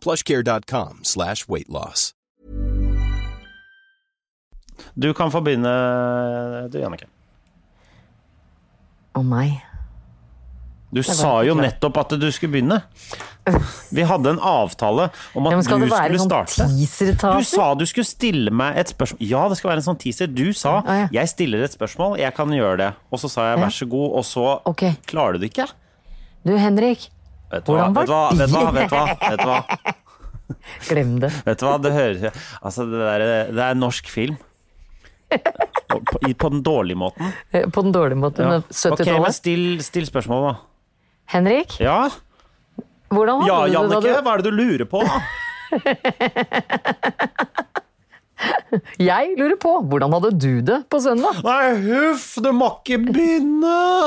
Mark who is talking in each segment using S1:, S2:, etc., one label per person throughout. S1: Plushcare.com slash weight loss.
S2: Du kan få begynne, du, Jannicke.
S3: Å meg.
S2: Du
S3: var
S2: sa jo
S3: ikke klar.
S2: nettopp at du skulle begynne. Vi hadde en avtale om at du
S3: Ja, men skal det være
S2: skulle
S3: en sånn
S2: starte. Du
S3: teaser-taser?
S2: sa du skulle stille meg et spørsmål. Ja, det skal være en sånn teaser. Du sa
S3: Ah, ja.
S2: 'jeg stiller et spørsmål, jeg kan gjøre det'. Og så sa jeg
S3: Ja.
S2: 'vær så god', og så
S3: Ok.
S2: klarer du det ikke.
S3: Du, Henrik.
S2: Vet du hva,
S3: Hvordan
S2: vet du hva,
S3: var
S2: vet du hva, vet du hva, vet du hva?
S3: Glem det.
S2: Vet du hva, det hører Altså, det, der, det er norsk film. Og På, i- på den dårlige måten.
S3: Eh, På den dårlige måten.
S2: Ja.
S3: men
S2: Ok, men
S3: 70-tallet.
S2: still, still spørsmål, da.
S3: Henrik,
S2: Ja,
S3: hvordan
S2: ja
S3: hadde du det da
S2: Jannicke,
S3: du
S2: hva er det du lurer på? da?
S3: Jeg lurer på, hvordan hadde du det på søndag?
S2: Nei, huff, du må ikke begynne!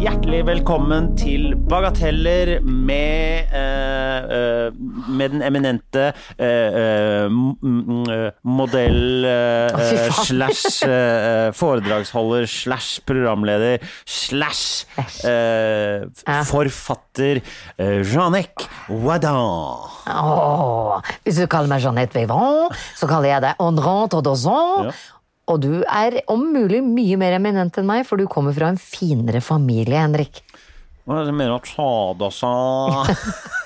S2: Hjertelig velkommen til Bagateller med, eh, eh, med den eminente eh, eh, m- m- eh, modell eh,
S3: Å, fy
S2: eh,
S3: faen.
S2: slash eh, foredragsholder slash programleder slash eh, f-
S3: Ja.
S2: forfatter eh, Jeanette Wadan.
S3: Åh, hvis du kaller meg Jeanette Vivant, så kaller jeg deg Andrant Odozon.
S2: Ja.
S3: Og du er om mulig mye mer eminent enn meg, for du kommer fra en finere familie, Henrik.
S2: Hva er det du mener at Hadasa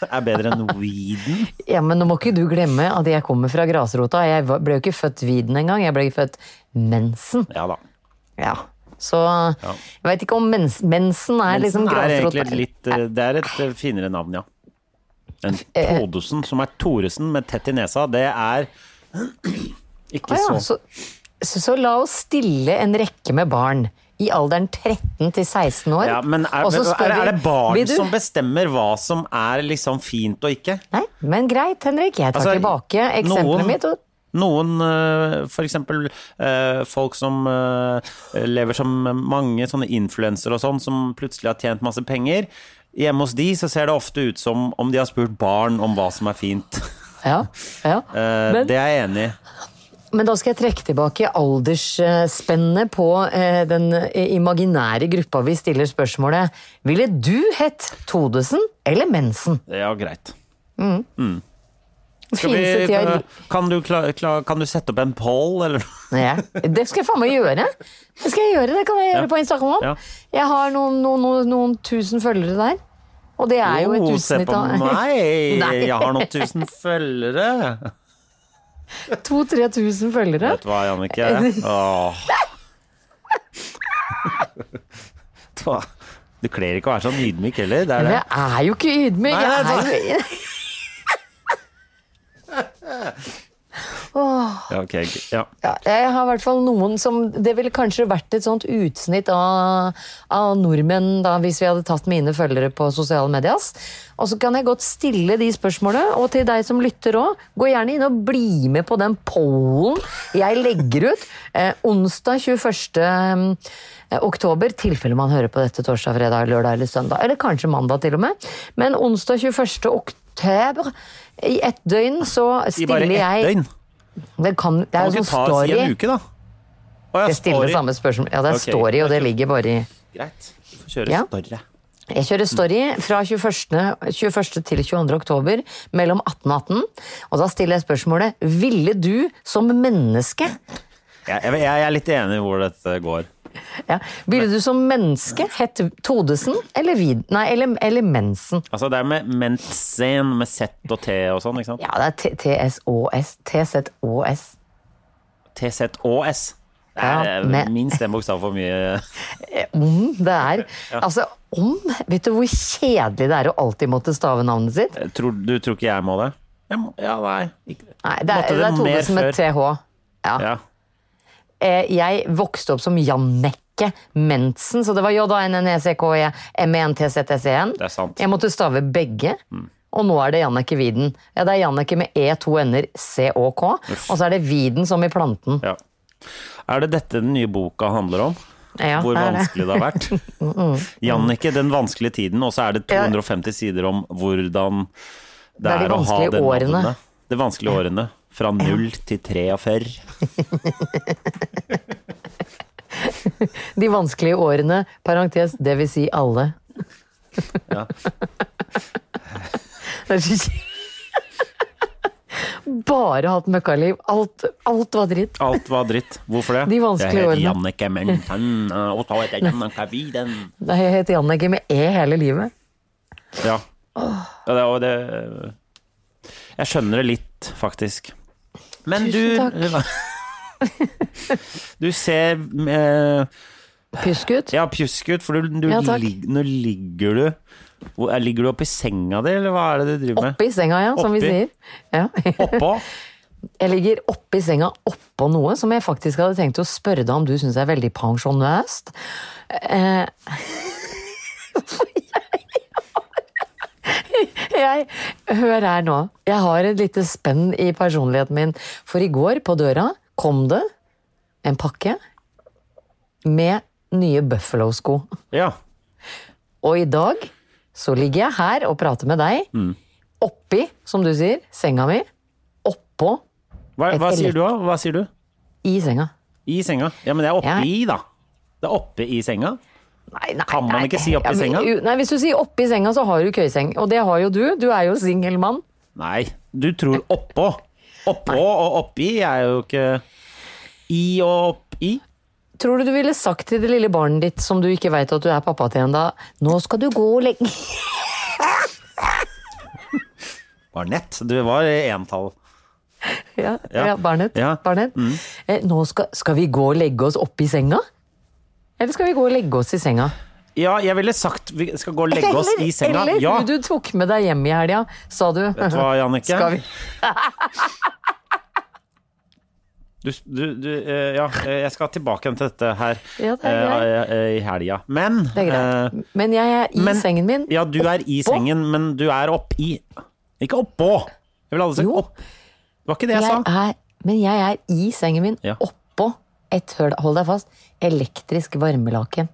S2: er bedre enn Weeden?
S3: Ja, men nå må ikke du glemme at jeg kommer fra grasrota. Jeg var- ble jo ikke født viden engang, jeg ble født mensen.
S2: Ja da.
S3: Ja. Så jeg veit ikke om mens, mensen er liksom
S2: Mensen er
S3: grasrota.
S2: egentlig litt eh, Det er et eh, finere navn, ja. Enn
S3: Eh,
S2: Todesen, som er Thoresen, men tett i nesa. Det er ikke
S3: Å ja,
S2: så
S3: så, så, så la oss stille en rekke med barn i alderen 13 til 16 år.
S2: ja, men er,
S3: og så spør
S2: er, er det
S3: vi,
S2: barn
S3: «Vil du-
S2: som bestemmer hva som er liksom fint og ikke?
S3: Nei, men greit, Henrik. Jeg tar
S2: Altså,
S3: tilbake eksempelet
S2: noen-
S3: mitt. Og,
S2: Noen, eh, for eksempel eh, folk som eh, lever som mange sånne influensere og sånn, som plutselig har tjent masse penger. Hjemme hos de så ser det ofte ut som om de har spurt barn om hva som er fint.
S3: ja, ja.
S2: Eh,
S3: Men-
S2: det er jeg enig i.
S3: Men da skal jeg trekke tilbake aldersspennet på eh, den eh, imaginære gruppa vi stiller spørsmålet. Ville du hett Todesen eller Mensen?
S2: Det er jo greit. Skal
S3: Fineste
S2: vi,
S3: teori.
S2: kan, du kla, kla, kan du sette opp en poll, eller?
S3: Ja, det skal jeg faen meg gjøre. Det skal jeg gjøre, det kan jeg gjøre på Instagram.
S2: Ja.
S3: Jeg har noen, noen, noen, noen tusen følgere der. Og det er jo et
S2: Oh, se
S3: utsnitt
S2: på
S3: av
S2: meg!
S3: Nei.
S2: Jeg har noen tusen følgere.
S3: 2000-3000 tusen følgere.
S2: Vet du hva, Jannicke? Åh. Vet du hva? Du kler ikke å være sånn ydmyk heller. Det er
S3: Men
S2: det.
S3: jeg er jo ikke
S2: Nei,
S3: ydmyk. Jeg
S2: nei,
S3: er jo
S2: Ja, ok, ok. ja.
S3: Ja, jeg har i hvert fall noen som Det ville kanskje vært et sånt utsnitt av, av nordmenn da, hvis vi hadde tatt mine følgere på sosiale medier. ass. Og så kan jeg godt stille de spørsmålene. Og til deg som lytter òg, gå gjerne inn og bli med på den pollen jeg legger ut eh, onsdag 21. eh, oktober, tilfelle man hører på dette torsdag, fredag, lørdag eller søndag. Eller kanskje mandag til og med. Men onsdag 21. oktober i ett døgn så
S2: I bare
S3: stiller
S2: ett
S3: jeg
S2: døgn?
S3: Det, kan, det er
S2: Kan
S3: jo
S2: du
S3: sånn
S2: ikke ta oss i
S3: story.
S2: en uke, da? Å,
S3: Jeg stiller
S2: story.
S3: samme spørsmål. Ja, det er
S2: Ok,
S3: story, og det ligger bare i
S2: Greit. Du får kjøre
S3: Ja.
S2: story.
S3: Jeg kjører story fra 21. 21. til 22. oktober mellom 18 og 18. Og da stiller jeg spørsmålet 'Ville du som menneske'?
S2: Jeg, jeg, jeg er litt enig i hvor dette går.
S3: Ja. Ville du som menneske hett Todesen eller Vid... Nei, eller, eller Mensen?
S2: Altså, det er med mensen, med Z og T og sånn, ikke sant?
S3: Ja, det er T- TSÅS. TZÅS.
S2: TZ og S. Det
S3: Ja,
S2: er
S3: men-
S2: minst en bokstav for mye.
S3: Om det er Altså, om Vet du hvor kjedelig det er å alltid måtte stave navnet sitt?
S2: Tror, du tror ikke jeg må det? Jeg må, ja, nei. Ikke.
S3: Nei, det
S2: Måtte
S3: er,
S2: det
S3: det er
S2: mer
S3: Todesen med
S2: før?
S3: TH. Ja.
S2: Ja.
S3: eh, jeg vokste opp som Jannicke Mensen, så det var E J-A-N-N-E-C-K-E-M-E-N-T-Z-T-C-N.
S2: Det er sant.
S3: E
S2: Mm.
S3: Jeg måtte stave begge. Og nå er det Jannicke Widen. Ja, det er Jannicke med E, to n-er, C og K. Og så er det Widen som i planten.
S2: Ja. Er det dette den nye boka handler om?
S3: Ja,
S2: Hvor
S3: det er det.
S2: vanskelig det har vært? Jannicke, den vanskelige tiden, og så er det 250 sider om hvordan det,
S3: er de
S2: er, å ha
S3: vanskelige
S2: den
S3: årene.
S2: årene. De vanskelige årene. Fra 0 til 43.
S3: De vanskelige årene, parentes, det vil si alle.
S2: Ja.
S3: Det er så kj- Bare hatt møkkaliv. Alt, alt var dritt.
S2: Alt var dritt. Hvorfor det?
S3: De vanskelige
S2: jeg
S3: årene.
S2: heter Jannicke Menten, og så heter jeg Jannicke Widen.
S3: Nei, jeg heter Jannicke med E hele livet.
S2: Ja. ja det, og det Jeg skjønner det litt, faktisk. Men
S3: Tusen
S2: du Du ser eh,
S3: Pjuskut.
S2: Ja, pjusk ut, for du, du
S3: Ja, takk.
S2: lig, nå ligger du hvor, er- Ligger du oppi senga di, eller hva er det du driver med?
S3: Oppi senga, ja, som vi
S2: Oppi.
S3: sier. Ja.
S2: Oppå?
S3: Jeg ligger oppi senga oppå noe som jeg faktisk hadde tenkt å spørre deg om du syns er veldig pensjonøst. Eh, for jeg, jeg Hør her nå. Jeg har et lite spenn i personligheten min. For i går, på døra, kom det en pakke med nye Buffalo-sko.
S2: Ja.
S3: Og i dag så ligger jeg her og prater med deg. Oppi, som du sier, senga mi. Oppå
S2: Hva,
S3: Et
S2: hva sier
S3: elekt-
S2: du, da? Hva sier du?
S3: i senga.
S2: I senga? Ja, men det er
S3: Ja.
S2: oppi, da. Det er oppe i senga.
S3: Nei, nei,
S2: Kan man
S3: nei.
S2: ikke si oppi
S3: Ja, men,
S2: senga?
S3: u- Nei, Hvis du sier oppi senga, så har du køyeseng. Og det har jo du. Du er jo singel mann.
S2: Nei, du tror oppå. Oppå og oppi er jo ikke I og oppi.
S3: Tror du du ville sagt til det lille barnet ditt som du ikke veit at du er pappa til ennå, nå skal du gå og legge
S2: Var nett. Du var i entall.
S3: ja,
S2: Ja.
S3: ja. barnet.
S2: Ja.
S3: barnet. Eh, nå skal, skal vi gå og legge oss oppi senga? Eller skal vi gå og legge oss i senga?
S2: Ja, jeg ville sagt vi skal gå og legge oss i
S3: eller,
S2: senga.
S3: Eller
S2: Ja.
S3: du du tok med deg hjem i helga, sa du.
S2: Vet du hva, Jannicke?
S3: Skal vi?
S2: Du, du, du eh, Ja, eh, jeg skal tilbake igjen til dette her
S3: Ja, det er greit.
S2: eh, eh, i helga. Men
S3: Det er greit. Men jeg er i
S2: men-
S3: sengen min.
S2: eh, Ja, du er i sengen, men du er oppi. Ikke oppå. Jeg ville aldri sagt
S3: Jo.
S2: opp. Det var ikke det jeg,
S3: jeg
S2: sa.
S3: er, men jeg er i sengen min,
S2: Ja.
S3: oppå et høl, hold deg fast, elektrisk varmelaken.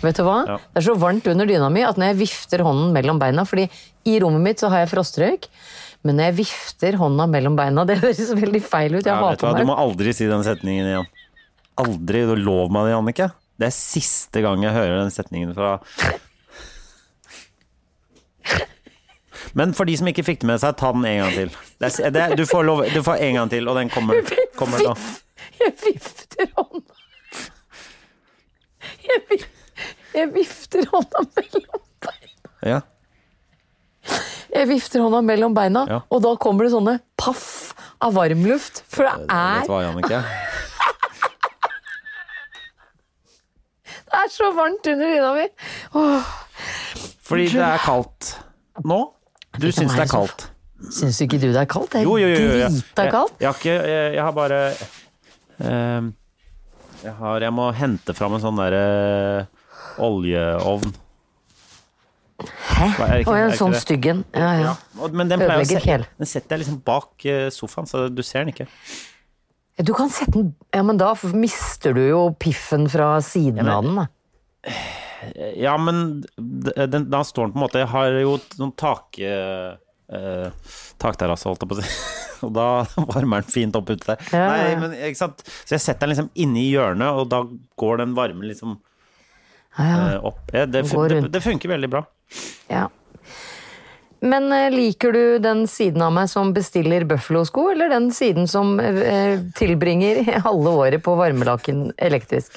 S3: Vet du hva?
S2: Ja.
S3: Det er så varmt under dyna mi at når jeg vifter hånden mellom beina, fordi i rommet mitt så har jeg frostrøyk, men når jeg vifter hånda mellom beina, det høres veldig feil ut, jeg
S2: Ja, vet du
S3: hater
S2: hva, du
S3: meg.
S2: må aldri si den setningen igjen. Aldri. Du lov meg det, Jannicke. Det er siste gang jeg hører den setningen fra Men for de som ikke fikk det med seg, ta den en gang til. Det er, det er, du, får lov, du får en gang til, og den kommer, kommer nå.
S3: Jeg vifter hånda. Jeg, vif, jeg vifter hånda mellom beina.
S2: Ja.
S3: Jeg vifter hånda mellom beina,
S2: Ja.
S3: og da kommer det sånne paff av varmluft. For det
S2: Vet
S3: er,
S2: du hva, Jannicke?
S3: det er så varmt under dyna mi! Åh,
S2: Fordi det er kaldt nå. Du syns det er kaldt.
S3: syns ikke du det er kaldt? Det er
S2: Jo, jo, jo. jo, jo.
S3: drita
S2: Jeg,
S3: kaldt.
S2: jeg har ikke Jeg, jeg har bare ehm, jeg, har, jeg må hente fram en sånn derre oljeovn.
S3: Hæ?
S2: Hva, er det ikke-
S3: Og
S2: er
S3: en
S2: det ikke
S3: sånn
S2: det?
S3: stygg en. Ja, ja.
S2: Og- Men den, pleier å
S3: Ødelegger
S2: se,
S3: fjell.
S2: den setter jeg liksom bak eh, sofaen, så du ser den ikke.
S3: Du kan sette den Ja, men da mister du jo piffen fra siden
S2: men-
S3: av den, da.
S2: Ja, men d- eh, den, da står den på en måte Jeg har jo t- sånn tak... eh, eh, takterrasse, holdt jeg på å si. Og da varmer den fint opp ute der.
S3: Ja, ja,
S2: Nei,
S3: ja.
S2: men ikke sant? Så jeg setter den liksom inni hjørnet, og da går den varmen liksom
S3: Ja, ja.
S2: eh, opp. Ja, det, fun
S3: Går
S2: det,
S3: rundt.
S2: det funker veldig bra.
S3: ja. Men eh, liker du den siden av meg som bestiller Buffalo-sko, eller den siden som eh, tilbringer halve året på varmelaken elektrisk?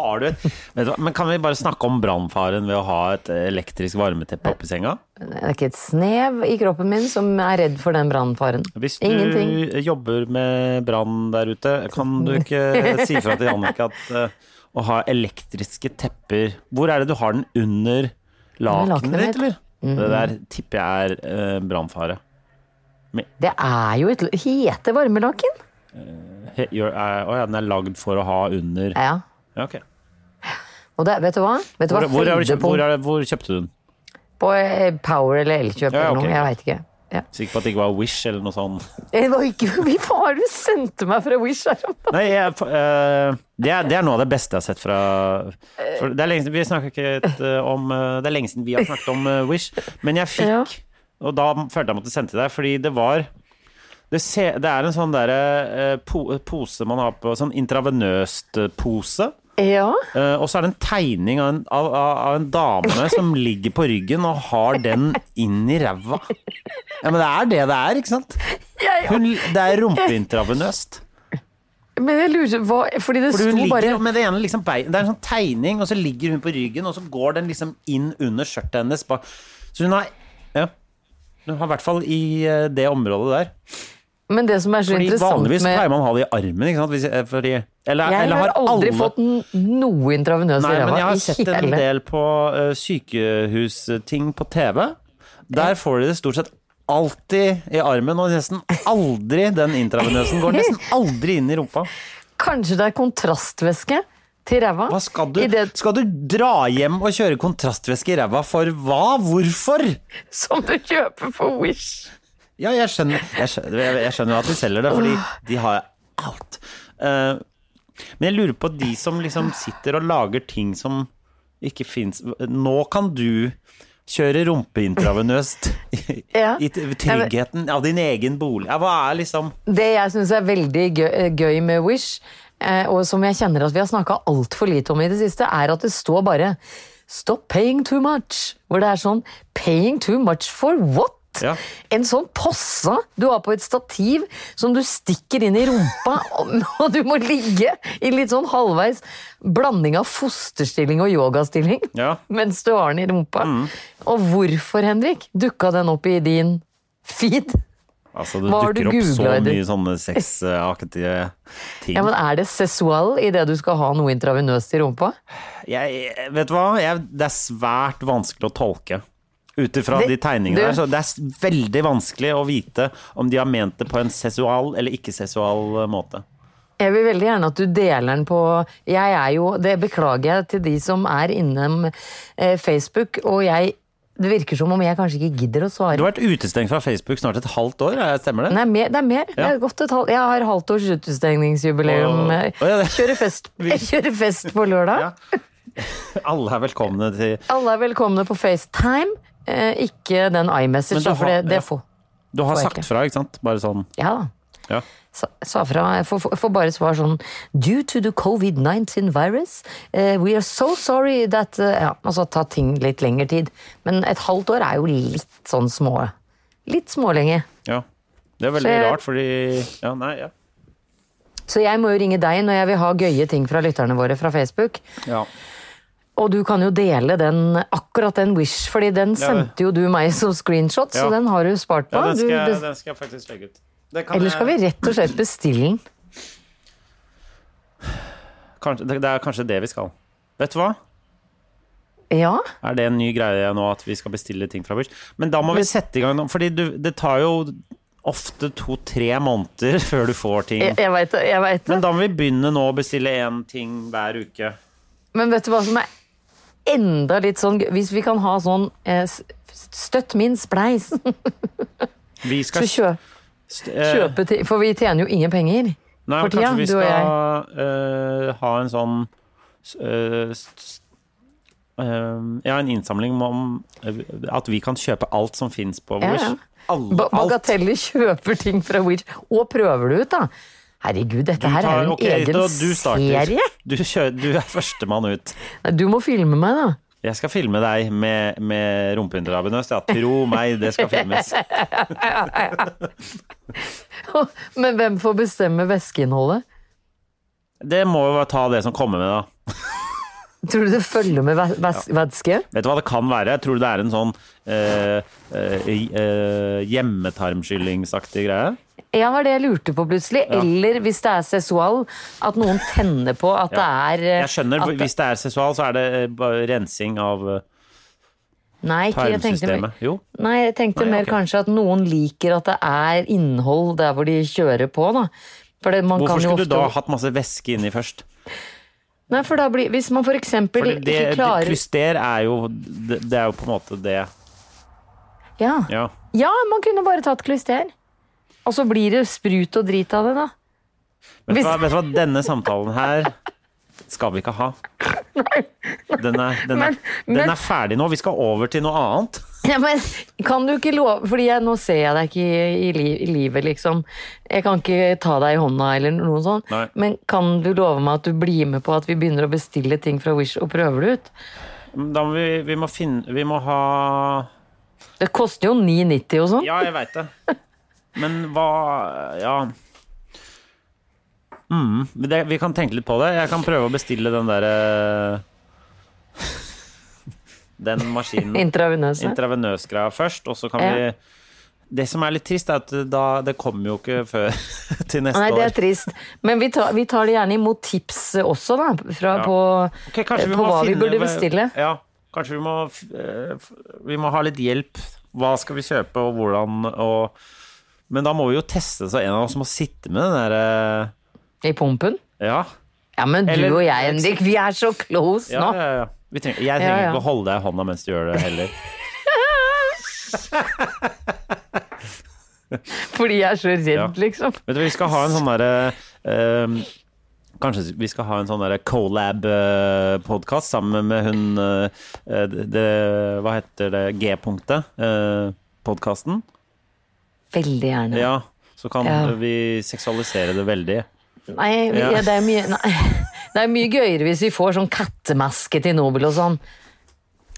S2: Har du et Vet du hva, Men kan vi bare snakke om brannfaren ved å ha et elektrisk varmeteppe oppi senga?
S3: Det er ikke et snev i kroppen min som er redd for den brannfaren.
S2: Hvis du
S3: Ingenting.
S2: jobber med brann der ute, kan du ikke si fra til Jannicke at eh, å ha elektriske tepper Hvor er det du har den? Under
S3: Under
S2: lakenet Mm.
S3: lakenet
S2: ditt, eller? Det der tipper jeg er uh, eh, brannfare. Men-
S3: Det er jo et Heter varmelaken?
S2: He- gjør- er- Å ja, den er lagd for å ha under
S3: Ja.
S2: Ja, ok.
S3: Og det, vet du hva? Vet du
S2: Hvor,
S3: hva
S2: hvor, er det, kjøpt-
S3: høydepunkt-
S2: hvor, er det, hvor kjøpte du den?
S3: På eh, Power eller Elkjøp
S2: Ja, ja,
S3: eller
S2: ok.
S3: noe. Jeg veit ikke. Ja.
S2: Sikker på at det ikke var Wish eller noe sånt?
S3: Det var ikke Hva var det du sendte meg fra Wish? her om dagen?
S2: Nei, jeg, eh, det, er, det er noe av det beste jeg har sett fra for det, er lenge, siden- vi snakker ikke et, eh, om, eh, det er lenge siden vi har snakket om eh, Wish, men jeg fikk
S3: Ja.
S2: Og da følte jeg måtte sende til deg, fordi det var det, se, det er en sånn derre eh, po, pose man har på Sånn intravenøst eh, pose.
S3: Ja.
S2: Eh, og så er det en tegning av en, av, av, av en dame som ligger på ryggen og har den inn i ræva. Ja, men det er det det er, ikke sant?
S3: Jeg,
S2: Hun, det er rumpeintravenøst.
S3: men jeg lurer hva Fordi det
S2: For hun
S3: sto
S2: ligger
S3: bare
S2: med det ene liksom bei- Det er en sånn tegning, og så ligger hun på ryggen, og så går den liksom inn under skjørtet hennes. bak- Så hun har Ja. Hun har i hvert fall i eh, det området der.
S3: Men det som er så
S2: Fordi
S3: interessant
S2: vanligvis pleier
S3: med
S2: man å ha det i armen, ikke sant? Hvis, eh, fordi, eller,
S3: Jeg
S2: eller
S3: har aldri
S2: alle-
S3: fått n- noe intravenøs i
S2: Nei, men jeg
S3: ræva
S2: har
S3: i
S2: sett en
S3: hele
S2: del på eh, sykehusting på TV. Der får de det stort sett alltid i armen, og nesten aldri den intravenøsen. Går nesten aldri inn i rumpa.
S3: Kanskje det er kontrastvæske til ræva?
S2: Hva skal du?
S3: I det
S2: Skal du dra hjem og kjøre kontrastvæske i ræva for hva? Hvorfor?
S3: som du kjøper på Wish.
S2: Ja, jeg skjønner Jeg skjønner, jeg- jeg skjønner jo at de selger det, fordi de har alt. Eh, men jeg lurer på de som liksom sitter og lager ting som ikke fins Nå kan du kjøre rumpeintravenøst i,
S3: Ja.
S2: i tryggheten av din egen bolig. Ja, hva er liksom
S3: Det jeg syns er veldig gøy, gøy med Wish, eh, og som jeg kjenner at vi har snakka altfor lite om i det siste, er at det står bare 'Stop paying too much'. Hvor det er sånn 'Paying too much for what?'
S2: Ja.
S3: En sånn posse du har på et stativ som du stikker inn i rumpa, og- og du må ligge i litt sånn halvveis blanding av fosterstilling og yogastilling
S2: Ja. Mm.
S3: mens du har den i rumpa. Og hvorfor, Henrik, dukka den opp i din feed?
S2: Altså, det
S3: Hva har du
S2: dukker opp så
S3: googlet, du?
S2: mye sånne sexaktige ting.
S3: Ja, men Er det sesual i det du skal ha noe intravenøst i rumpa?
S2: jeg, vet du hva? Jeg, det er svært vanskelig å tolke. Ut ifra
S3: Det-
S2: de tegningene
S3: du-
S2: der, så det er s- veldig vanskelig å vite om de har ment det på en sesual eller ikke-sesual måte.
S3: Jeg vil veldig gjerne at du deler den på Jeg er jo Det beklager jeg til de som er innom eh, Facebook, og jeg Det virker som om jeg kanskje ikke gidder å
S2: Du
S3: svare.
S2: har vært utestengt fra Facebook snart et halvt år, er- stemmer det?
S3: Nei, mer, det er mer. Det er godt et halvt, jeg har halvtårs utestengningsjubileum.
S2: Åh. Åh, ja, det-
S3: Kjører fest, jeg kjører fest på lørdag.
S2: Alle er velkomne til
S3: Alle er velkomne på FaceTime, eh, ikke den iMessage,
S2: Men da
S3: da, for det,
S2: har- ja.
S3: det får
S2: Du har
S3: Får jeg
S2: sagt
S3: ikke.
S2: fra, ikke sant? Bare sånn.
S3: Ja da.
S2: Ja.
S3: sa, sa fra jeg får- får får bare svar sånn Due to the covid-19 virus, eh, we are so sorry that eh, Ja, altså ta ting litt lengre tid. Men et halvt år er jo litt sånn små. Litt smålenge.
S2: ja. Det er veldig
S3: Så jeg-
S2: rart, fordi Ja, nei, ja.
S3: Så jeg må jo ringe deg når jeg vil ha gøye ting fra lytterne våre fra Facebook.
S2: ja.
S3: Og du kan jo dele den, akkurat den Wish, fordi den
S2: Ja, det-
S3: sendte jo du meg som screenshot,
S2: Ja.
S3: så den har du spart på.
S2: ja den, skal,
S3: du,
S2: jeg-
S3: bes-
S2: den skal jeg faktisk legge ut. Det kan
S3: eller skal vi
S2: jeg-
S3: rett og slett bestille den?
S2: kanskje, det, det er kanskje det vi skal. Vet du hva?
S3: Ja?
S2: Er det en ny greie nå at vi skal bestille ting fra Wish? Men da må vi sette i gang nå, fordi du, det tar jo ofte to-tre måneder før du får ting.
S3: Jeg, jeg veit det. Jeg vet det.
S2: Men da må vi begynne nå å bestille én ting hver uke.
S3: Men vet du hva som er enda litt sånn gøy? Hvis vi kan ha sånn eh, s- Støtt min spleis!
S2: Vi
S3: Så
S2: skal
S3: kjø,
S2: st- eh,
S3: kjøpe til For vi tjener jo ingen penger.
S2: nei, men
S3: for
S2: kanskje
S3: tida,
S2: vi
S3: du og
S2: skal eh, ha en sånn eh, s- s- eh, Ja, en innsamling om eh, at vi kan kjøpe alt som fins på
S3: Ja,
S2: Wish.
S3: ja.
S2: Alle,
S3: Ba-
S2: alt.
S3: Bagateller kjøper ting fra Wish og prøver det ut, da. Herregud, dette her er
S2: Tar-
S3: jo en
S2: ok,
S3: egen
S2: da du starter.
S3: serie!
S2: Du, kjø- du er førstemann ut.
S3: Nei, Du må filme meg, da.
S2: Jeg skal filme deg med, med rumpeintravenøst. Ja, tro meg, det skal filmes.
S3: Men hvem får bestemme væskeinnholdet?
S2: Det må jo ta det som kommer med, da.
S3: Tror du det følger med væ- væs- væske?
S2: Vet du hva det kan være? Jeg tror det er en sånn eh, eh, eh, hjemmetarmskyllingsaktig greie.
S3: Ja, det var det jeg lurte på plutselig. Eller hvis det er sesual, at noen tenner på at det er eh,
S2: Jeg skjønner,
S3: at det-
S2: hvis det er sesual, så er det eh, bare rensing av eh,
S3: Nei, ikke, jeg tenkte, mer-
S2: Tarmsystemet. Jo.
S3: nei, jeg tenkte
S2: Nei,
S3: mer
S2: ok.
S3: kanskje at noen liker at det er innhold der hvor de kjører på, da. For det, man
S2: Hvorfor
S3: kan jo
S2: skulle
S3: ofte...
S2: du da hatt masse væske inni først?
S3: Nei, for da blir, hvis man for eksempel
S2: Fordi det,
S3: ikke
S2: det,
S3: klarer
S2: klyster er jo det, det er jo på en måte det
S3: ja.
S2: Ja.
S3: ja, man kunne bare tatt klyster. Og så blir det sprut og drit av det, da.
S2: Vet du
S3: Hvis-
S2: hva, vet du hva? denne samtalen her skal vi ikke ha. Den er, den, er,
S3: Men- men-
S2: den er ferdig nå. Vi skal over til noe annet.
S3: Ja, men kan du ikke love Fordi jeg, nå ser jeg deg ikke i, i, li, i livet, liksom. Jeg kan ikke ta deg i hånda eller noe sånt.
S2: Nei.
S3: Men kan du love meg at du blir med på at vi begynner å bestille ting fra Wish og prøver det ut?
S2: Da må vi, vi må finne Vi må ha
S3: Det koster jo 9,90 og sånn.
S2: Ja, jeg veit det. Men hva Ja. Mm, men det, vi kan tenke litt på det. Jeg kan prøve å bestille den derre Den maskinen.
S3: Intravenøse.
S2: Intravenøsgreia først, og så kan
S3: Ja.
S2: vi Det som er litt trist, er at da, det kommer jo ikke før til neste
S3: Nei, det er
S2: år.
S3: trist. Men vi tar, vi tar det gjerne imot tips også, da. Fra,
S2: Ja.
S3: på,
S2: Ok, kanskje
S3: Eh, på
S2: må
S3: hva vi burde
S2: hva-
S3: bestille.
S2: Ja, kanskje vi må, f- eh, f- vi må ha litt hjelp. Hva skal vi kjøpe, og hvordan, og Men da må vi jo teste, så en av oss må sitte med den derre
S3: i pumpen.
S2: Ja.
S3: Ja, men du
S2: Eller-
S3: og jeg, Henrik, vi er så close
S2: ja,
S3: nå.
S2: ja, ja. Vi trenger, jeg trenger
S3: Ja, ja.
S2: ikke å holde deg i hånda mens du gjør det heller.
S3: Fordi jeg er så redd,
S2: Ja.
S3: liksom.
S2: Vet du, vi skal ha en sånn derre ehm, Kanskje vi skal ha en sånn colab-podkast sammen med hun eh, det, det- Hva heter det? G-punktet. Uh, Podkasten.
S3: Veldig gjerne.
S2: Ja. Så kan
S3: Ja.
S2: vi seksualisere det veldig.
S3: Nei, vi-
S2: Ja.
S3: ja, det, er mye, nei, det er mye gøyere hvis vi får sånn kattemaske til Nobel og sånn.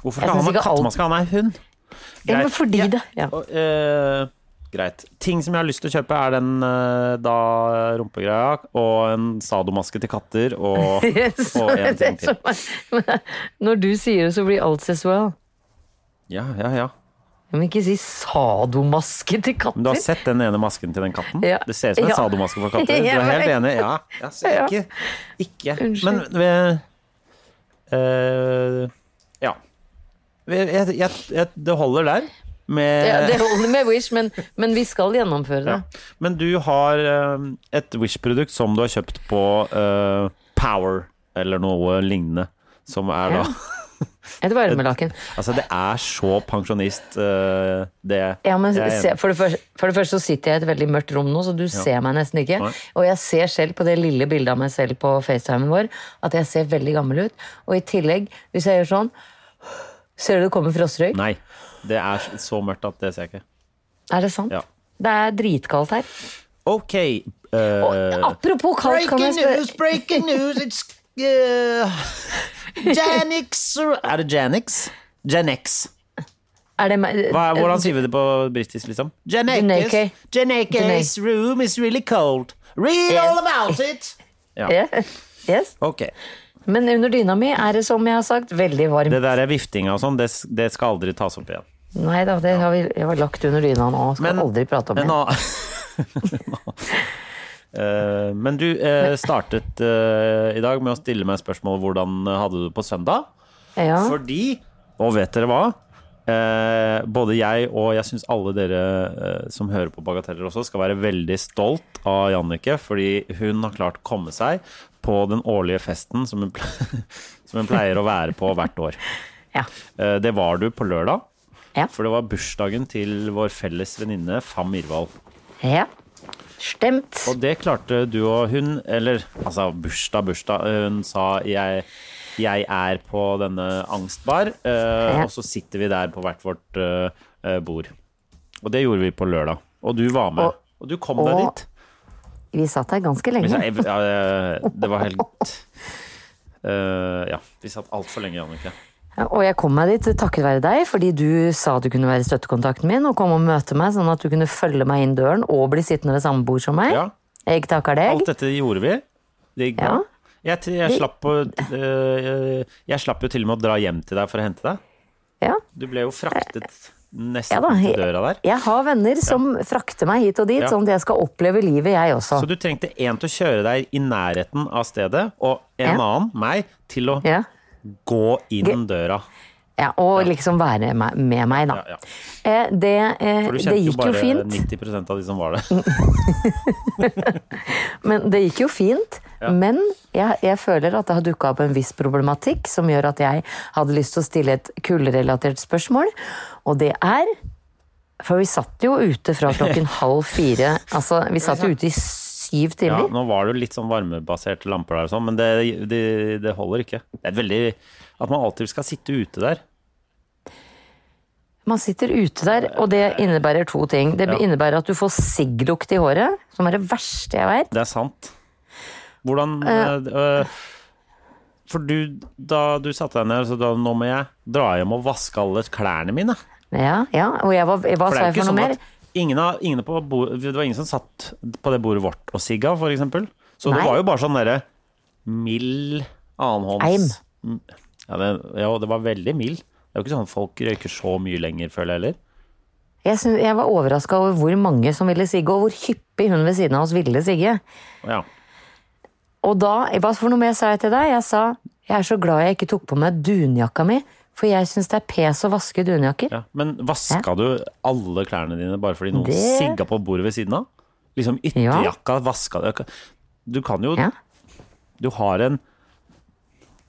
S2: Hvorfor
S3: Jeg
S2: skal han
S3: synes
S2: ha
S3: ikke alt-
S2: kattemaske? Han er hund.
S3: Ja, men
S2: Greit.
S3: fordi
S2: Ja.
S3: det ja.
S2: Og, eh, greit. Ting som jeg har lyst til å kjøpe, er den eh, da rumpegreia og en sadomaske til katter og,
S3: Så
S2: og en ting
S3: det
S2: til.
S3: som er- men Når du sier det, så blir alt sessual.
S2: Ja, ja, ja.
S3: Men ikke si sadomaske til
S2: Men du har
S3: katter.
S2: sett den ene masken til den katten?
S3: Ja.
S2: Det ser ut som en
S3: Ja.
S2: sadomaske for katter. Du
S3: Jeg
S2: er helt
S3: vet.
S2: enig? Ja. ja så
S3: Ja.
S2: ikke, ikke. Men
S3: Unnskyld.
S2: ved, eh, Ja. Ved- Jeg, jeg, jeg, det holder der. Med,
S3: Ja, det holder med Wish, men, men vi skal gjennomføre
S2: Ja.
S3: det.
S2: Men du har eh, et Wish-produkt som du har kjøpt på eh, Power eller noe lignende. Som er da
S3: Ja. Et varmelaken.
S2: Altså, det er så pensjonist, eh, det.
S3: Ja, men
S2: Jeg er
S3: se,
S2: enig.
S3: for, det første, for det første så sitter jeg i et veldig mørkt rom nå, så du ser meg nesten ikke.
S2: Nei.
S3: Og jeg ser selv på det lille bildet av meg selv på FaceTimen vår, at jeg ser veldig gammel ut. Og i tillegg, hvis jeg gjør sånn, ser du det kommer frostrøyk?
S2: Nei. Det er så mørkt at det ser jeg ikke.
S3: Er det sant?
S2: Ja.
S3: Det er dritkaldt her.
S2: OK. eh,
S3: Apropos kaldt, kan jeg spørre
S2: breaking news, it's Janix Er det Janix? Janex.
S3: er det meg?
S2: Hva er, hvordan sier vi det på britisk, liksom?
S3: Janeke.
S2: Janekes room is really cold. Read
S3: Eh.
S2: all about it!
S3: Ja. Eh, Yes.
S2: Ok.
S3: Men under dyna mi er det, som jeg har sagt, veldig varmt.
S2: Det der er viftinga og sånn, det, det skal aldri tas opp igjen.
S3: Nei da, det har vi jeg har lagt under dyna nå. Skal
S2: Men-
S3: aldri prate om det.
S2: En annen Eh, Men du eh, startet eh, i dag med å stille meg spørsmål hvordan eh, hadde du det på søndag?
S3: Ja.
S2: Fordi, og vet dere hva? Eh, både jeg og jeg syns alle dere eh, som hører på Bagateller også, skal være veldig stolt av Jannicke, fordi hun har klart å komme seg på den årlige festen som hun, ple- som hun pleier å være på hvert år.
S3: Ja.
S2: Eh, det var du på lørdag,
S3: Ja.
S2: for det var bursdagen til vår felles venninne Fam Irvald.
S3: ja. Stemt.
S2: Og det klarte du og hun, eller altså bursdag, bursdag. Hun sa jeg, jeg er på denne angstbar, eh,
S3: Ja.
S2: og så sitter vi der på hvert vårt eh, eh, bord. Og det gjorde vi på lørdag. Og du var med.
S3: Og-
S2: Og, du kom deg
S3: og-
S2: dit.
S3: Vi satt her ganske
S2: Vi
S3: lenge.
S2: sa, jeg, ja, eh, det var helt eh, Ja. Vi satt altfor lenge, Jannicke.
S3: Ja, Og jeg kom meg dit takket være deg, fordi du sa du kunne være støttekontakten min og komme og møte meg, sånn at du kunne følge meg inn døren og bli sittende ved samme bord som meg.
S2: Ja.
S3: Jeg takker
S2: Alt
S3: deg.
S2: dette gjorde vi. Det gikk bra.
S3: Ja.
S2: Jeg, t- jeg, slapp å, eh, jeg slapp jo til og med å dra hjem til deg for å hente deg.
S3: Ja.
S2: Du ble jo fraktet nesten
S3: Ja da,
S2: til
S3: jeg-
S2: døra der.
S3: Jeg har venner som frakter meg hit og dit,
S2: Ja.
S3: sånn at jeg skal oppleve livet, jeg også.
S2: Så du trengte en til å kjøre deg i nærheten av stedet, og en
S3: Ja.
S2: annen, meg, til å
S3: Ja.
S2: gå inn døra.
S3: Ja, og liksom være meg- med meg, da.
S2: Ja, ja.
S3: Eh, Det, eh,
S2: For du
S3: det
S2: kjente jo
S3: gikk jo
S2: bare
S3: fint.
S2: 90 av de som var der.
S3: Men det gikk jo fint. Men jeg, jeg føler at det har dukka opp en viss problematikk som gjør at jeg hadde lyst til å stille et kullrelatert spørsmål, og det er For vi satt jo ute fra klokken halv fire. Altså, vi satt jo ute i syv
S2: Ja,
S3: timer.
S2: nå var det jo litt sånn varmebaserte lamper der og sånn, men det, det, det holder ikke. Det er veldig At man alltid skal sitte ute der.
S3: Man sitter ute der, og det innebærer to ting. Det
S2: Ja.
S3: innebærer at du får sigglukt i håret, som er det verste jeg vet.
S2: Det er sant. Hvordan eh, eh, For du, da du satte deg ned, så da nå må jeg dra hjem og vaske alle klærne mine.
S3: Ja, ja. Og jeg var,
S2: For
S3: hva
S2: det
S3: sa
S2: er
S3: jeg
S2: jo ikke
S3: for noe
S2: sånn
S3: mer?
S2: at ingen, av, ingen på bo- Det var ingen som satt på det bordet vårt og sigga, for eksempel. Så
S3: Nei.
S2: det var jo bare sånn derre mild annenhånds ja det, ja, og det var veldig mild. Det er jo ikke sånn at folk røyker så mye lenger, føler jeg heller.
S3: Jeg, syns- jeg var overraska over hvor mange som ville sigge, og hvor hyppig hun ved siden av oss ville sigge.
S2: Ja.
S3: Og da, hva for noe mer sa jeg til deg? Jeg sa jeg er så glad jeg ikke tok på meg dunjakka mi, for jeg syns det er pes å vaske dunjakker.
S2: Ja. Men vaska du alle klærne dine bare fordi noen
S3: Det-
S2: sigga på bordet ved siden av? Liksom ytterjakka, vaska du Du kan jo
S3: Ja.
S2: Du har en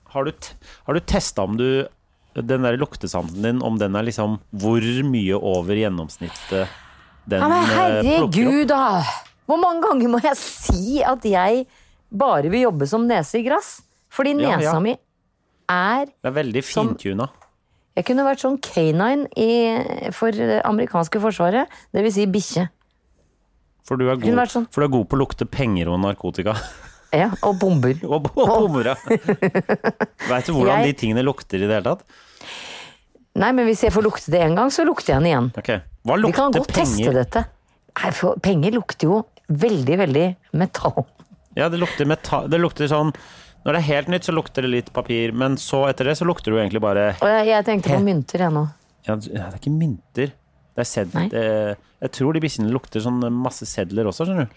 S2: Har du, t- har du testa om du Den der luktesansen din, om den er liksom Hvor mye over gjennomsnittet den
S3: Ja, men
S2: eh, plukker opp?
S3: herregud, da! Hvor mange ganger må jeg si at jeg bare vil jobbe som nese i gress? Fordi
S2: Ja,
S3: nesa
S2: ja.
S3: mi er
S2: Det er veldig
S3: Sånn-
S2: fintuna.
S3: Jeg kunne vært sånn canine i, for det amerikanske forsvaret, dvs. Si bikkje.
S2: For du, er god,
S3: kunne vært sånn.
S2: for du er god på å lukte penger og narkotika.
S3: Ja, og bomber.
S2: Og bo- og bommer, ja. Veit du hvordan
S3: Jeg-
S2: de tingene lukter i det hele tatt?
S3: Nei, men hvis jeg får lukte det én gang, så lukter jeg den igjen.
S2: Ok, Hva
S3: Vi kan
S2: lukter
S3: godt teste
S2: penger?
S3: dette. Nei, for penger lukter jo veldig, veldig metall.
S2: Ja, det lukter metall Det lukter sånn Når det er helt nytt, så lukter det litt papir, men så etter det så lukter det jo egentlig bare
S3: Og jeg, jeg tenkte på mynter, jeg nå.
S2: Ja, det er ikke mynter. Det er sed,
S3: Nei.
S2: eh, jeg tror de bikkjene lukter sånn masse sedler også, skjønner du.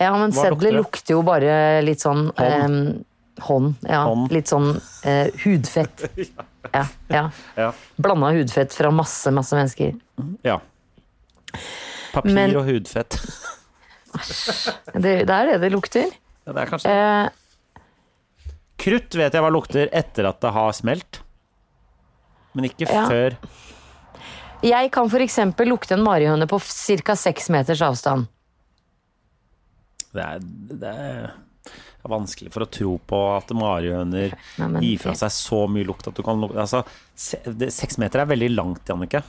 S3: Ja, men
S2: Hva lukter
S3: sedler
S2: det?
S3: lukter jo bare litt sånn Hånd. hånd ja.
S2: Hånd.
S3: Litt sånn eh, hudfett. Ja, ja.
S2: Ja.
S3: Blanda hudfett fra masse, masse mennesker.
S2: ja. Papir
S3: Men-
S2: og hudfett.
S3: Det, det er det det lukter.
S2: Ja, det er kanskje
S3: Eh,
S2: Krutt vet jeg hva lukter etter at det har smelt. Men ikke
S3: Ja.
S2: før
S3: jeg kan f.eks. lukte en marihøne på ca. seks meters avstand.
S2: Det er, det er vanskelig for å tro på at marihøner
S3: Nei, men-
S2: gir fra seg så mye lukt at du kan lukte altså, se- det- Seks meter er veldig langt, Jannicke.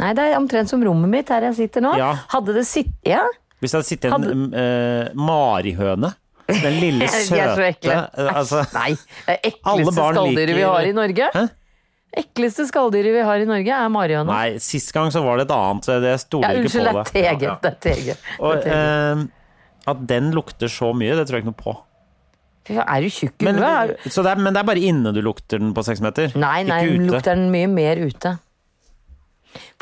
S3: Nei, det er omtrent som rommet mitt her jeg sitter nå.
S2: Ja.
S3: Hadde det sitt... Ja.
S2: Hvis det hadde sittet en eh, marihøne, den lille
S3: De er så
S2: søte
S3: ekle.
S2: eh, altså,
S3: Æsj, Nei, det er
S2: Alle
S3: ekleste
S2: barn
S3: skalldyret vi
S2: liker-
S3: har i Norge.
S2: Hæ?
S3: Ekleste skalldyret vi har i Norge, er marihøna.
S2: Nei, sist gang så var det et annet, så det
S3: Ja,
S2: stoler jeg ikke
S3: unnskyld,
S2: på
S3: det
S2: det.
S3: er TG.
S2: Ja, ja.
S3: Det er TG.
S2: Og, eh, at den lukter så mye, det tror jeg ikke noe på.
S3: Fy faen, Er du tjukk i
S2: Men,
S3: huet?
S2: så det er, men det er bare inne du lukter den på seks meter?
S3: Nei, nei,
S2: ikke
S3: hun
S2: ute.
S3: lukter den mye mer ute.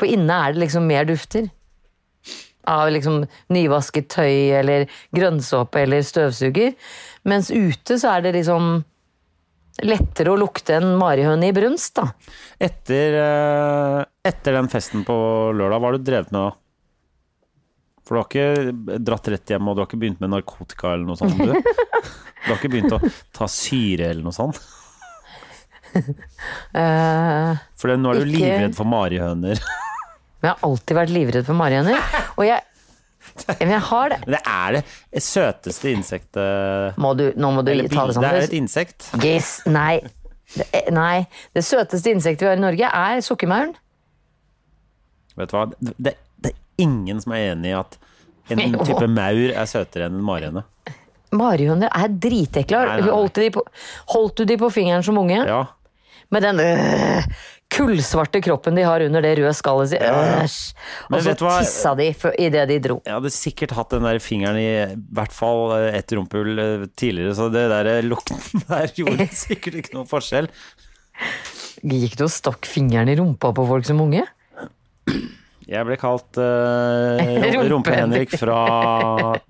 S3: På inne er det liksom mer dufter. Av liksom nyvasket tøy eller grønnsåpe eller støvsuger. Mens ute så er det liksom lettere å lukte en marihøne i brunst, da.
S2: Etter, eh, etter den festen på lørdag, hva har du drevet med da? For du har ikke dratt rett hjem, og du har ikke begynt med narkotika eller noe sånt? Du, du har ikke begynt å ta syre eller noe sånt?
S3: Eh,
S2: For nå er du
S3: Ikke.
S2: livredd for marihøner.
S3: Men jeg har alltid vært livredd for marihøner. Og jeg Men jeg har det.
S2: Men det er det søteste insektet
S3: Må du, nå må du
S2: Eller
S3: ta
S2: bil-
S3: det sånn.
S2: det er
S3: sammen.
S2: et insekt.
S3: Yes, nei. Det, er- nei. Det søteste insektet vi har i Norge, er sukkermauren.
S2: Vet du hva? Det, det er ingen som er enig i at en type maur er søtere enn en marihøne.
S3: Marihøner er dritekle. Har-
S2: Nei, nei, nei.
S3: Holdt, du de på- holdt du de på fingeren som unge?
S2: Ja.
S3: Med den øh, kullsvarte kroppen de har under det røde skallet sitt. Æsj.
S2: Men
S3: Og så
S2: vet du hva-
S3: tissa de idet de dro.
S2: Jeg hadde sikkert hatt den der fingeren i hvert fall ett rumpehull eh, tidligere, så det der eh, lukten der gjorde sikkert ikke noen forskjell.
S3: Gikk du og stakk fingeren i rumpa på folk som unge?
S2: Jeg ble kalt eh,
S3: Rumpe-Henrik.
S2: Rumpe-Henrik fra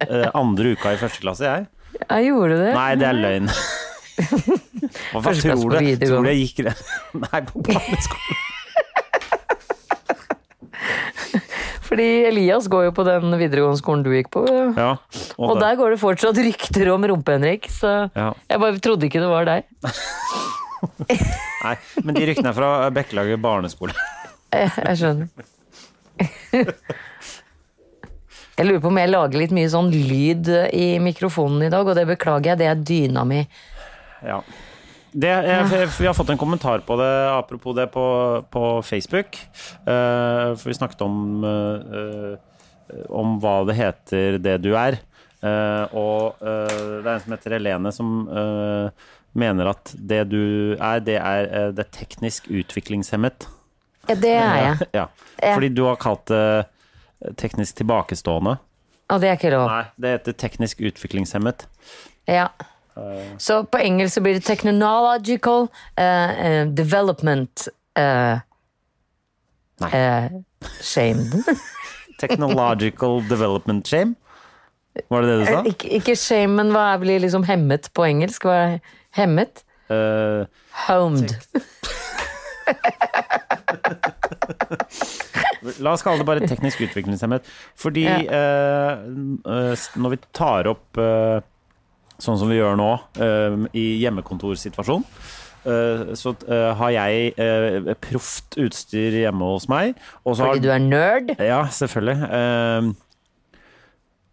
S2: eh, andre uka i første klasse, jeg.
S3: Jeg gjorde det.
S2: Nei, det er løgn. Hva
S3: Første klasse
S2: tror
S3: på
S2: du?
S3: videregående.
S2: Tror du jeg gikk re- Nei, på barneskolen.
S3: Fordi Elias går jo på den videregående skolen du gikk på.
S2: Ja.
S3: Og der går det fortsatt rykter om rumpe-Henrik, så
S2: Ja.
S3: jeg bare trodde ikke det var deg.
S2: Nei, men de ryktene er fra Bekkelaget barneskole.
S3: Jeg, Eh, jeg skjønner. Jeg lurer på om jeg lager litt mye sånn lyd i mikrofonen i dag, og det beklager jeg. Det er dyna mi.
S2: Ja. Det, jeg, jeg, vi har fått en kommentar på det, apropos det, på, på Facebook. Eh, for vi snakket om eh, eh, Om hva det heter det du er. Eh, og eh, det er en som heter Helene, som eh, mener at det du er, det er eh, det teknisk utviklingshemmet.
S3: Ja, det er jeg.
S2: Ja.
S3: Ja.
S2: Fordi du har kalt det teknisk tilbakestående.
S3: Og det er ikke lov.
S2: Nei, det heter teknisk utviklingshemmet.
S3: Ja. Så på engelsk så blir det technological eh, eh, development eh,
S2: Nei.
S3: eh, shame.
S2: Technological development shame. Var det det du sa?
S3: Ik ikke shame, men hva er, blir liksom hemmet på engelsk? Hva er hemmet?
S2: Eh,
S3: Homed.
S2: Eh, La oss kalle det bare teknisk utviklingshemmet. Fordi
S3: Ja.
S2: eh, n- eh, s- når vi tar opp eh, sånn som vi gjør nå, eh, i hjemmekontorsituasjon, eh, så eh, har jeg eh, proft utstyr hjemme hos meg. Og så
S3: Fordi
S2: har
S3: du er nerd?
S2: Ja, selvfølgelig. Ehm,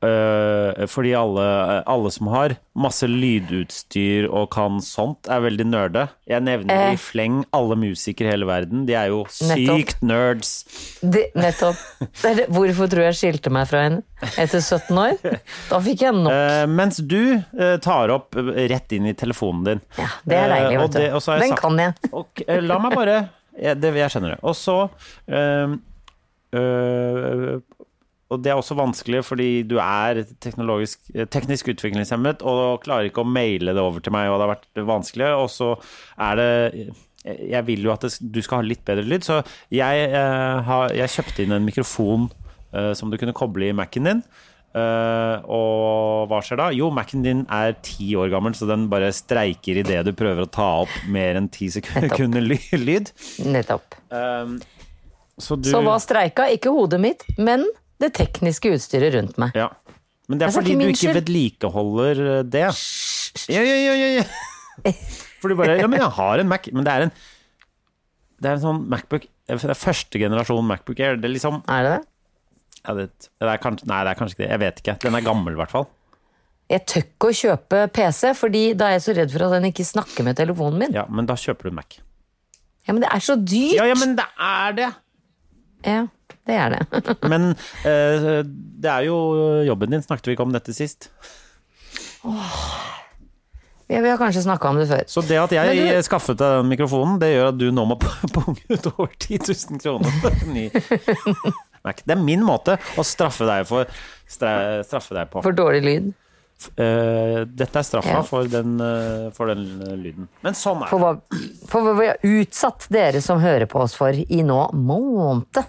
S2: øh, fordi alle, alle som har masse lydutstyr og kan sånt, er veldig nerde. Jeg nevner
S3: Eh.
S2: i fleng alle musikere i hele verden. De er jo sykt nerds.
S3: Det, nettopp. Det er det, hvorfor tror jeg skilte meg fra henne etter 17 år? Da fikk jeg nok.
S2: Eh, mens du eh, tar opp eh, rett inn i telefonen din.
S3: Ja, det er deilig,
S2: Eh, og
S3: vet du.
S2: det- og så har jeg
S3: Den
S2: sagt-
S3: kan jeg.
S2: Ok, eh, la meg bare jeg, det, jeg skjønner det. Og så ehm, øh, Og det er også vanskelig fordi du er teknologisk, eh, teknisk utviklingshemmet og klarer ikke å maile det over til meg, og det har vært vanskelig. Og så er det jeg jeg vil jo at det, du skal ha litt bedre lyd, så jeg, eh, har, jeg kjøpte inn en mikrofon eh, som du kunne koble i Mac-en din. Eh, og hva skjer da? Jo, Mac-en din er ti år gammel, så den bare streiker idet du prøver å ta opp mer enn ti sekunder ly- lyd.
S3: Nettopp.
S2: Eh, så du
S3: Så hva streika? Ikke hodet mitt, men det tekniske utstyret rundt meg.
S2: Ja. Men det er
S3: Jeg sa
S2: fordi
S3: ikke
S2: du
S3: Altså, min
S2: ikke
S3: skyld.
S2: vedlikeholder eh, det. Ja, ja, ja, ja, ja. For du bare Ja, men jeg har en Mac. Men det er en Det er en sånn Macbook Det er første generasjon Macbook Air. Det er liksom
S3: Er det det?
S2: ja, det, det er kanskje, Nei, det er kanskje ikke det. Jeg vet ikke. Den er gammel, i hvert fall.
S3: Jeg tør ikke å kjøpe PC, fordi da er jeg så redd for at den ikke snakker med telefonen min. Ja,
S2: Ja, men da kjøper du en Mac.
S3: men det er så dyrt!
S2: Ja, ja,
S3: Ja,
S2: men det er det!
S3: det er det.
S2: Men eh, det er jo eh, jobben din. Snakket vi ikke om dette sist?
S3: Ja, Vi har kanskje snakka om det før.
S2: Så det at jeg
S3: Men
S2: skaffet deg den mikrofonen, det gjør at du nå må p- punge ut over 10 000 kroner for en ny Mac. Det er min måte å straffe deg, for, stra- straffe deg på.
S3: For dårlig lyd.
S2: Eh, dette er straffa
S3: Ja.
S2: for, den, eh, for den eh, lyden. Men sånn er det.
S3: For hva, for hva vi har utsatt dere som hører på oss for i nå måned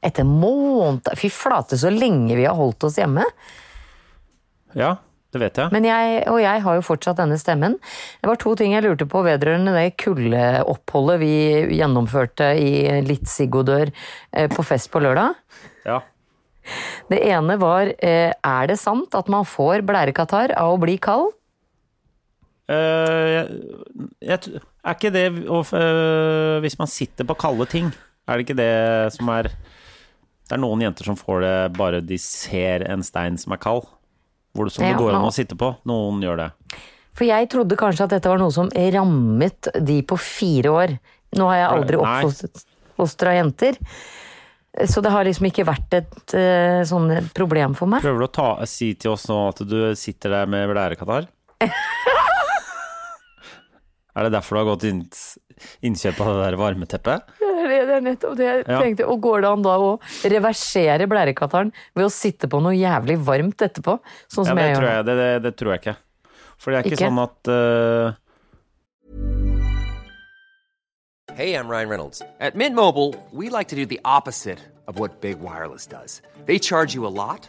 S3: etter måned. Fy flate, så lenge vi har holdt oss hjemme.
S2: Ja, det vet jeg.
S3: Men jeg, og jeg har jo fortsatt denne stemmen. Det var to ting jeg lurte på vedrørende det kuldeoppholdet vi gjennomførte i Litt Siggodør eh, på fest på lørdag.
S2: Ja.
S3: Det ene var eh, Er det sant at man får blærekatarr av å bli kald?
S2: Eh, jeg, jeg, t- er ikke det å f- eh, Hvis man sitter på kalde ting, er det ikke det som er Det er noen jenter som får det bare de ser en stein som er kald. Hvor det, som
S3: Ja,
S2: det går an
S3: nå-
S2: å sitte på. Noen gjør det.
S3: For jeg trodde kanskje at dette var noe som rammet de på fire år. Nå har jeg aldri
S2: Nei.
S3: oppfostra jenter. Så det har liksom ikke vært et eh, sånn problem for meg.
S2: Prøver du å ta, si til oss nå at du sitter der med blærekatarr? er det derfor du har gått inn, innkjøp av det der varmeteppet?
S3: Det er nettopp det jeg
S2: Ja.
S3: tenkte. Og går det an da å reversere blærekatarren ved å sitte på noe jævlig varmt etterpå? Sånn
S2: Ja,
S3: som
S2: det
S3: jeg
S2: tror
S3: gjør.
S2: jeg, det, det, det tror jeg ikke. For det er ikke,
S3: Ikke?
S2: sånn at eh,
S4: Hey, I'm Ryan Reynolds. At Mint Mobile, we like to do the opposite of what Big Wireless does. They charge you a lot,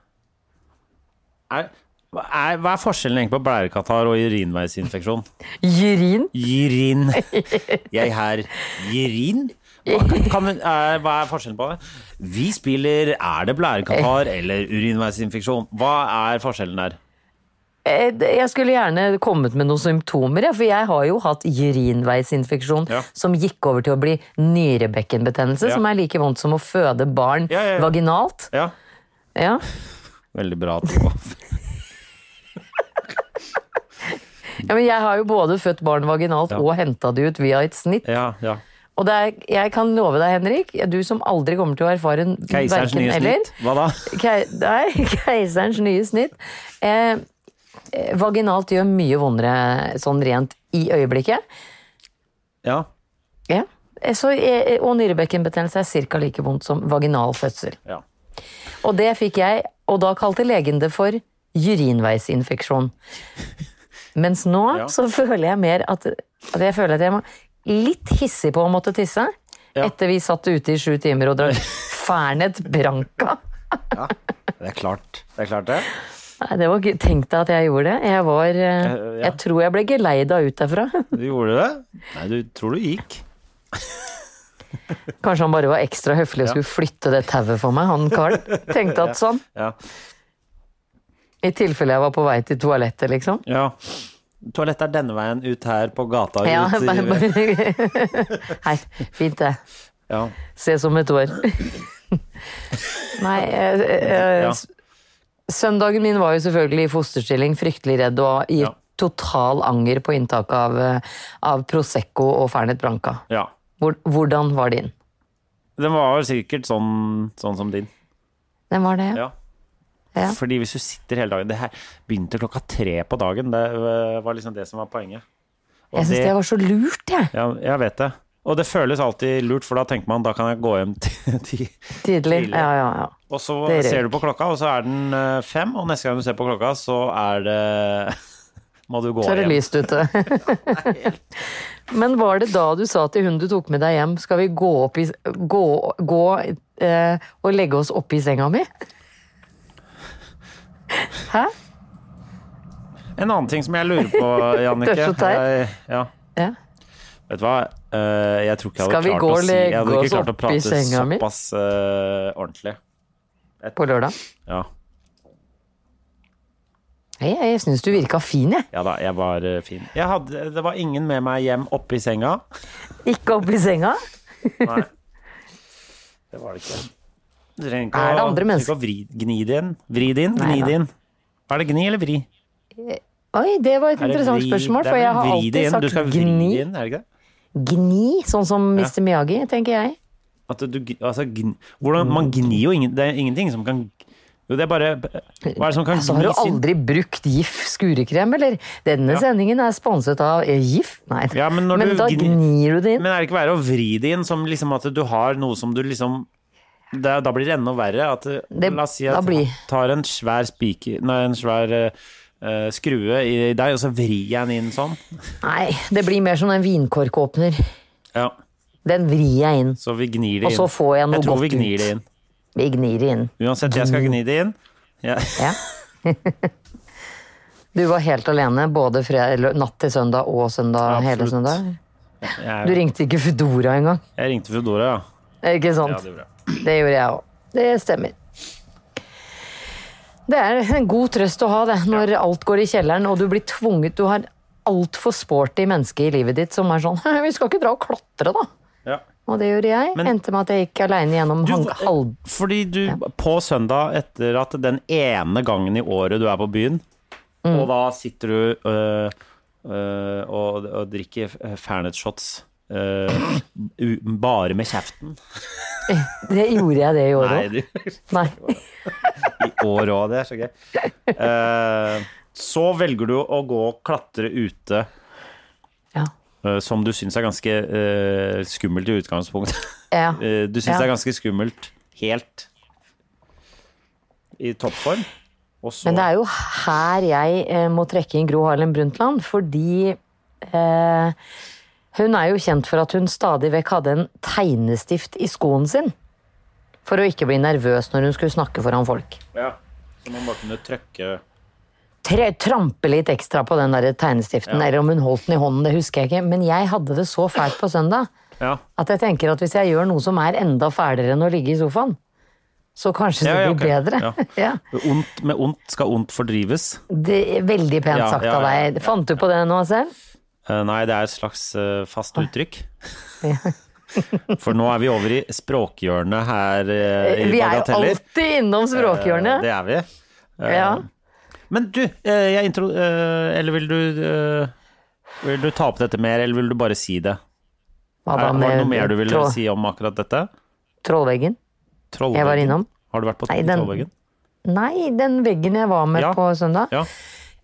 S2: er, hva er, Hva er forskjellen egentlig på blærekatarr og urinveisinfeksjon?
S3: Urin?
S2: Gir inn. Jeg her gir inn. Hva, kan, kan, vi- er, hva er forskjellen på det? Vi spiller Er det blærekatarr eller urinveisinfeksjon? Hva er forskjellen der?
S3: Eh, d- Jeg skulle gjerne kommet med noen symptomer, jeg, for jeg har jo hatt urinveisinfeksjon
S2: Ja.
S3: som gikk over til å bli nyrebekkenbetennelse,
S2: Ja.
S3: som er like vondt som å føde barn
S2: Ja, ja, ja.
S3: vaginalt.
S2: Ja,
S3: Ja.
S2: veldig bra. at du-
S3: ja, men jeg har jo både født barn vaginalt og henta det ut via et snitt.
S2: Ja, ja.
S3: Og det er, jeg kan love deg, Henrik, du som aldri kommer til å erfare en
S2: Keiserens
S3: verken
S2: nye
S3: eller.
S2: snitt. Hva da?
S3: Kei, nei, keiserens nye snitt. Eh, eh, vaginalt gjør mye vondere sånn rent i øyeblikket.
S2: Ja.
S3: Ja. Eh, Så, eh, og nyrebekkenbetennelse er ca. like vondt som vaginal fødsel.
S2: ja.
S3: Og det fikk jeg, og da kalte legen det for urinveisinfeksjon. Mens nå
S2: Ja.
S3: så føler jeg mer at, at jeg føler at jeg må litt hissig på å måtte tisse.
S2: Ja.
S3: Etter vi satt ute i sju timer og drakk Fernet Branca.
S2: Det er klart. Det er klart, det.
S3: Nei, det var, gøy. tenk deg at jeg gjorde det. Jeg var eh,
S2: Eh, ja.
S3: Jeg tror jeg ble geleida ut derfra.
S2: Du gjorde det? Nei, du tror du gikk.
S3: Kanskje han bare var ekstra høflig og skulle flytte det tauet for meg, han karen. Tenkte at sånn,
S2: Ja.
S3: i tilfelle jeg var på vei til toalettet, liksom.
S2: ja. Toalettet er denne veien ut her på gata.
S3: Ja,
S2: ut i-
S3: bare, bare. Hei, fint det.
S2: Ja.
S3: Ses om et år. Nei, eh, eh,
S2: Ja.
S3: s- søndagen min var jo selvfølgelig i fosterstilling, fryktelig redd og i
S2: Ja.
S3: total anger på inntaket av, eh, av Prosecco og Fernet Branca.
S2: ja.
S3: Hvor- Hvordan var din?
S2: Den var jo sikkert sånn, sånn som din.
S3: Den var det, ja.
S2: Ja.
S3: Ja.
S2: Fordi hvis du sitter hele dagen Det her begynte klokka tre på dagen. Det øh, var liksom det som var poenget. Og
S3: Jeg syns det var så lurt, jeg.
S2: ja, Jeg vet det. Og det føles alltid lurt, for da tenker man da kan jeg gå hjem til ti.
S3: Tidlig.
S2: Tidlig.
S3: Ja, ja, ja.
S2: Og så
S3: Det røyk.
S2: ser du på klokka, og så er den øh, fem, og neste gang du ser på klokka, så er det Må du gå
S3: Så er det
S2: hjem.
S3: lyst ute. Men var det da du sa til hun du tok med deg hjem, skal vi gå, opp i, gå, gå eh, og legge oss oppi senga mi? Hæ?
S2: En annen ting som jeg lurer på, Jannicke.
S3: Du er så teit.
S2: Jeg- Ja.
S3: Ja.
S2: Vet du hva, Eh, jeg tror ikke jeg
S3: Skal
S2: hadde
S3: vi
S2: klart
S3: gå
S2: å
S3: og
S2: si Jeg hadde
S3: legge
S2: ikke
S3: oss
S2: klart å
S3: opp i
S2: prate
S3: senga mi?
S2: såpass eh, ordentlig.
S3: På lørdag?
S2: Ja.
S3: Nei, jeg, jeg syns du virka fin, jeg.
S2: ja da, jeg var eh, fin. Jeg hadde, det var ingen med meg hjem oppe i senga.
S3: Ikke oppi senga.
S2: Nei. Det var det ikke. Du trenger ikke
S3: Er
S2: å- du
S3: det andre
S2: trenger
S3: mennesker?
S2: ikke å vri, gni det inn. Vri det inn, gni
S3: Nei da.
S2: det inn. Er det gni eller vri?
S3: Oi, det var et
S2: Er det
S3: interessant
S2: vri-
S3: spørsmål,
S2: det er
S3: for
S2: vel
S3: jeg har
S2: vri det
S3: alltid
S2: inn. Du skal
S3: sagt
S2: vri
S3: gni.
S2: det inn, er det ikke det?
S3: Gni, sånn som Mr. Miyagi, tenker jeg.
S2: At du, gn- altså, gn, hvordan, man gnir jo ingen, det er ingenting som kan Jo, det er bare Hva er det som kan
S3: Så har du
S2: gnis inn?
S3: aldri brukt GIF skurekrem, eller? Denne sendingen er sponset av eh, GIF. Nei,
S2: Ja, men når du
S3: da
S2: gni-
S3: gnir du det inn.
S2: Men er det ikke verre å vri det inn som liksom at du har noe som du liksom det, Da blir det enda verre. At,
S3: Det-
S2: la oss si
S3: da
S2: at
S3: blir-
S2: jeg tar en svær spiker Nei, en svær eh, eh, skrue i, i deg, og så vrir jeg den inn sånn.
S3: Nei, det blir mer som en vinkorkåpner.
S2: Ja,
S3: Den vrir jeg inn.
S2: Så vi gnir det
S3: Og
S2: inn.
S3: så får jeg noe
S2: jeg tror
S3: godt
S2: vi gnir
S3: ut.
S2: det inn.
S3: Vi gnir det inn.
S2: Uansett, jeg skal gni det inn. Ja.
S3: Ja. du var helt alene både fre- eller natt til søndag og søndag,
S2: Ja,
S3: hele
S2: absolutt.
S3: søndag. Du
S2: Jeg,
S3: ringte ikke Foodora engang.
S2: jeg ringte Foodora, ja.
S3: Eh, Ikke
S2: ja.
S3: sant?
S2: Det gjorde jeg.
S3: det gjorde jeg òg. Det stemmer. Det er en god trøst å ha det, når alt går i kjelleren og du blir tvunget Du har altfor sporty menneske i livet ditt som er sånn Vi skal ikke dra og klatre, da.
S2: Ja.
S3: og det gjorde jeg.
S2: Men-
S3: Endte med at jeg gikk aleine gjennom
S2: Du,
S3: hang-
S2: eh,
S3: halv...
S2: Fordi du, på søndag, etter at den ene gangen i året du er på byen, og da sitter du øh, øh, og, og drikker eh, Fernet shots øh, u- bare med kjeften
S3: Det gjorde jeg det i år
S2: Nei,
S3: òg.
S2: du,
S3: Nei.
S2: i år òg, det er så gøy. Eh, så velger du å gå og klatre ute,
S3: Ja.
S2: eh, som du syns er ganske eh, skummelt i utgangspunktet.
S3: Ja.
S2: Eh, Du syns
S3: Ja.
S2: det er ganske skummelt helt i toppform. Og så
S3: Men det er jo her jeg eh, må trekke inn Gro Harlem Brundtland, fordi eh, hun er jo kjent for at hun stadig vekk hadde en tegnestift i skoen sin. For å ikke bli nervøs når hun skulle snakke foran folk.
S2: ja, Så man bare kunne trykke
S3: tre, trampe litt ekstra på den der tegnestiften, eller om hun holdt den i hånden, det husker jeg ikke. Men jeg hadde det så fælt på søndag
S2: Ja,
S3: at jeg tenker at hvis jeg gjør noe som er enda fælere enn å ligge i sofaen, så kanskje det
S2: Ja, ja,
S3: blir
S2: ok.
S3: bedre.
S2: Ja.
S3: Ja.
S2: ondt, Med ondt skal ondt fordrives.
S3: Det er veldig pent
S2: Ja,
S3: sagt
S2: ja,
S3: av
S2: ja,
S3: deg. Fant du på det nå selv?
S2: Eh, Nei, det er et slags eh, fast
S3: Ah.
S2: uttrykk. For nå er vi over i språkhjørnet her eh, i
S3: Vi er jo
S2: Bagateller.
S3: alltid innom
S2: Eh,
S3: språkhjørnet.
S2: Det er vi. Eh,
S3: Ja.
S2: Men du, eh, jeg intro... eh, Eller vil du eh, Vil du ta opp dette mer, eller vil du bare si det?
S3: Hva
S2: Er,
S3: da
S2: var det noe mer du ville
S3: troll-
S2: si om akkurat dette?
S3: Trollveggen?
S2: Trollveggen.
S3: Jeg var innom.
S2: Har du vært på
S3: Nei, den-
S2: Trollveggen?
S3: Nei, den veggen jeg var med
S2: Ja.
S3: på søndag.
S2: Ja.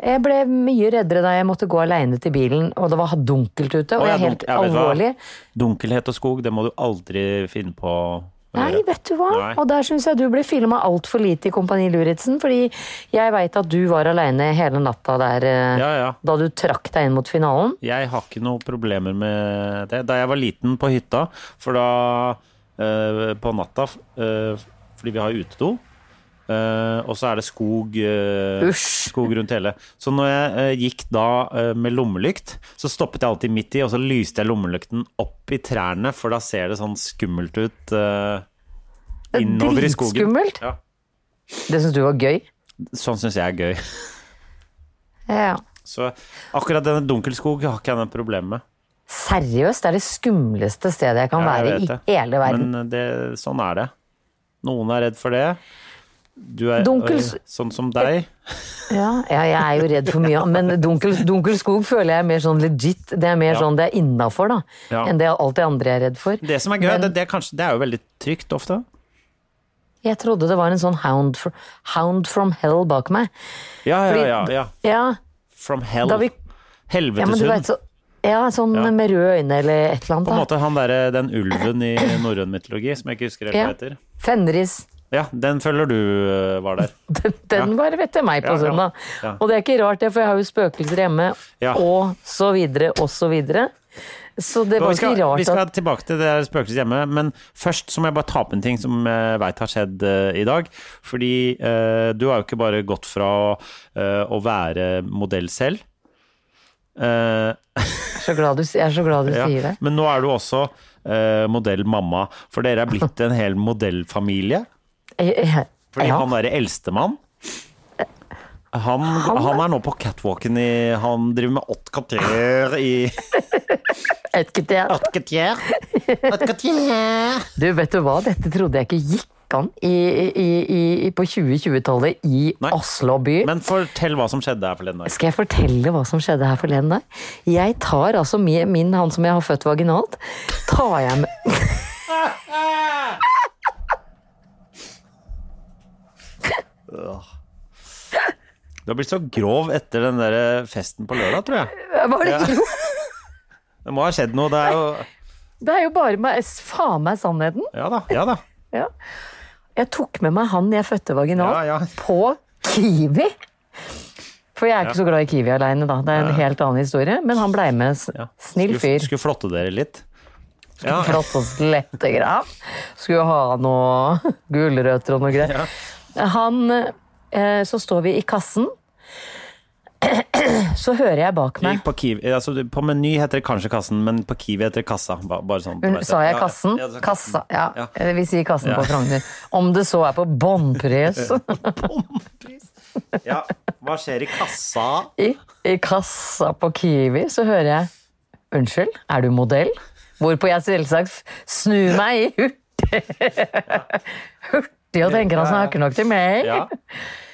S3: Jeg ble mye reddere da jeg måtte gå aleine til bilen, og det var dunkelt ute.
S2: Å,
S3: Og
S2: ja,
S3: jeg er helt
S2: dunk- ja, vet du hva?
S3: alvorlig.
S2: Dunkelhet og skog, det må du aldri finne på. å
S3: Nei,
S2: gjøre.
S3: vet du hva?
S2: Nei.
S3: Og der syns jeg du ble filma altfor lite i Kompani Luritzen, fordi jeg veit at du var aleine hele natta der eh,
S2: Ja, ja.
S3: da du trakk deg inn mot finalen.
S2: Jeg har ikke noen problemer med det. Da jeg var liten på hytta, for da eh, På natta, eh, fordi vi har utedo, eh, og så er det skog, eh,
S3: Usch.
S2: skog rundt hele. Så når jeg eh, gikk da eh, med lommelykt, så stoppet jeg alltid midt i, og så lyste jeg lommelykten opp i trærne, for da ser det sånn skummelt ut eh,
S3: Det er
S2: innover i skogen.
S3: dritskummelt.
S2: Ja.
S3: Det syns du var gøy?
S2: Sånn syns jeg er gøy.
S3: Ja.
S2: Så akkurat denne Dunkelskog har ikke jeg noe problem med.
S3: Seriøst, det er det skumleste stedet jeg kan
S2: Ja, jeg
S3: være
S2: vet
S3: i
S2: det.
S3: hele verden.
S2: Men det, sånn er det. Noen er redd for det. Du er
S3: Dunkels-
S2: øh, sånn som deg.
S3: Ja, ja, jeg er jo redd for mye, men dunkel, dunkel skog føler jeg er mer sånn legit. Det er mer
S2: Ja.
S3: sånn det er innafor, da,
S2: Ja.
S3: enn det alt det andre jeg er redd for.
S2: Det som er gøy, det, det, er kanskje, det er jo veldig trygt ofte.
S3: Jeg trodde det var en sånn hound, fr- hound from hell bak meg.
S2: Ja, ja,
S3: Fordi-
S2: ja. ja.
S3: Ja,
S2: From hell.
S3: Da vi- Ja, men du
S2: Helveteshund.
S3: vet så Ja, sånn
S2: Ja.
S3: med røde øyne eller et eller annet.
S2: på en
S3: da.
S2: måte han derre den ulven i norrøn mytologi som jeg ikke husker helt
S3: Ja.
S2: hva heter.
S3: Fenris.
S2: Ja, den føler du øh, var der.
S3: Den, den var rett til meg på
S2: Ja, ja,
S3: søndag.
S2: ja.
S3: Og det er ikke rart det, for jeg har jo spøkelser hjemme,
S2: Ja.
S3: og så videre, og så videre. Så det
S2: Men
S3: var
S2: Vi skal,
S3: ikke rart
S2: vi skal
S3: at
S2: tilbake til det spøkelset hjemme, men først så må jeg bare ta opp en ting som jeg veit har skjedd eh, i dag. Fordi eh, du har jo ikke bare gått fra eh, å være modell selv. eh,
S3: Jeg er så glad du, jeg er så glad du
S2: ja,
S3: sier det.
S2: Men nå er du også eh, modellmamma, for dere er blitt en hel modellfamilie.
S3: Jeg- jeg-
S2: Fordi
S3: ja.
S2: han derre eldstemann han, han, er nå på catwalken i Han driver med haute couture i
S3: Et kutt igjen.
S2: Haute couture. Haute couture.
S3: Du, vet du hva, dette trodde jeg ikke gikk an i, i, i, i, på 2020-tallet i
S2: Nei.
S3: Oslo by.
S2: Men fortell hva som skjedde her forleden dag.
S3: Skal jeg fortelle hva som skjedde her forleden dag? Jeg tar altså min, min han som jeg har født vaginalt, tar jeg med
S2: Du har blitt så grov etter den der festen på lørdag, tror jeg.
S3: Var det ikke noe?
S2: Det må ha skjedd noe. Det er jo
S3: Det er jo bare meg, faen meg sannheten.
S2: Ja da. Ja da.
S3: Ja. Jeg tok med meg han jeg fødte vaginalt,
S2: Ja, ja.
S3: på Kiwi. For jeg er ikke så glad i Kiwi aleine, da. Det er en helt annen historie. Men han blei med. s-
S2: Ja.
S3: Snill
S2: Skulle-
S3: fyr.
S2: Skulle flotte dere litt. Ja,
S3: Flott og slette grav. Skulle ha noe gulrøtter og noe greier. Han eh, Så står vi i kassen. Så hører jeg bak
S2: gikk
S3: meg
S2: på Kiwi altså, du- På Meny heter det kanskje kassen, men på Kiwi heter det kassa. Ba- Bare sånn.
S3: Hun- Sa jeg
S2: Ja,
S3: kassen?
S2: ja, ja, du sa
S3: Kassa, ja.
S2: Ja.
S3: Eller Vi sier kassen på Frogner. Om det så er på bånnpris.
S2: Ja. Hva skjer i kassa?
S3: I, I kassa på Kiwi så hører jeg Unnskyld, er du modell? Hvorpå jeg selvsagt snur meg i hurtig Hurtig og tenker han snakker nok til meg.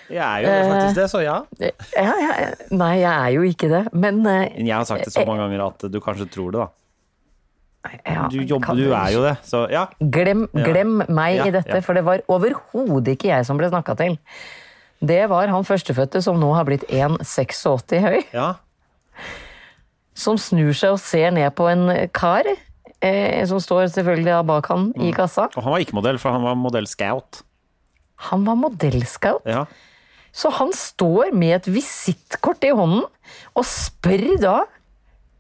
S2: Ja. Jeg er jo faktisk det, så ja.
S3: Ja, ja, nei, jeg er jo ikke det, men eh,
S2: Men jeg har sagt det så mange ganger at du kanskje tror det, da.
S3: ja,
S2: Du, jobber,
S3: kan
S2: du er jo det, så ja.
S3: Glem, glem meg
S2: Ja,
S3: i dette,
S2: ja.
S3: for det var overhodet ikke jeg som ble snakka til. Det var han førstefødte som nå har blitt 1,86 høy,
S2: ja.
S3: som snur seg og ser ned på en kar, eh, som står selvfølgelig da bak han i
S2: Mm.
S3: kassa.
S2: Og han var ikke modell, for han var modell scout.
S3: Han var modellscout,
S2: Ja.
S3: så han står med et visittkort i hånden og spør da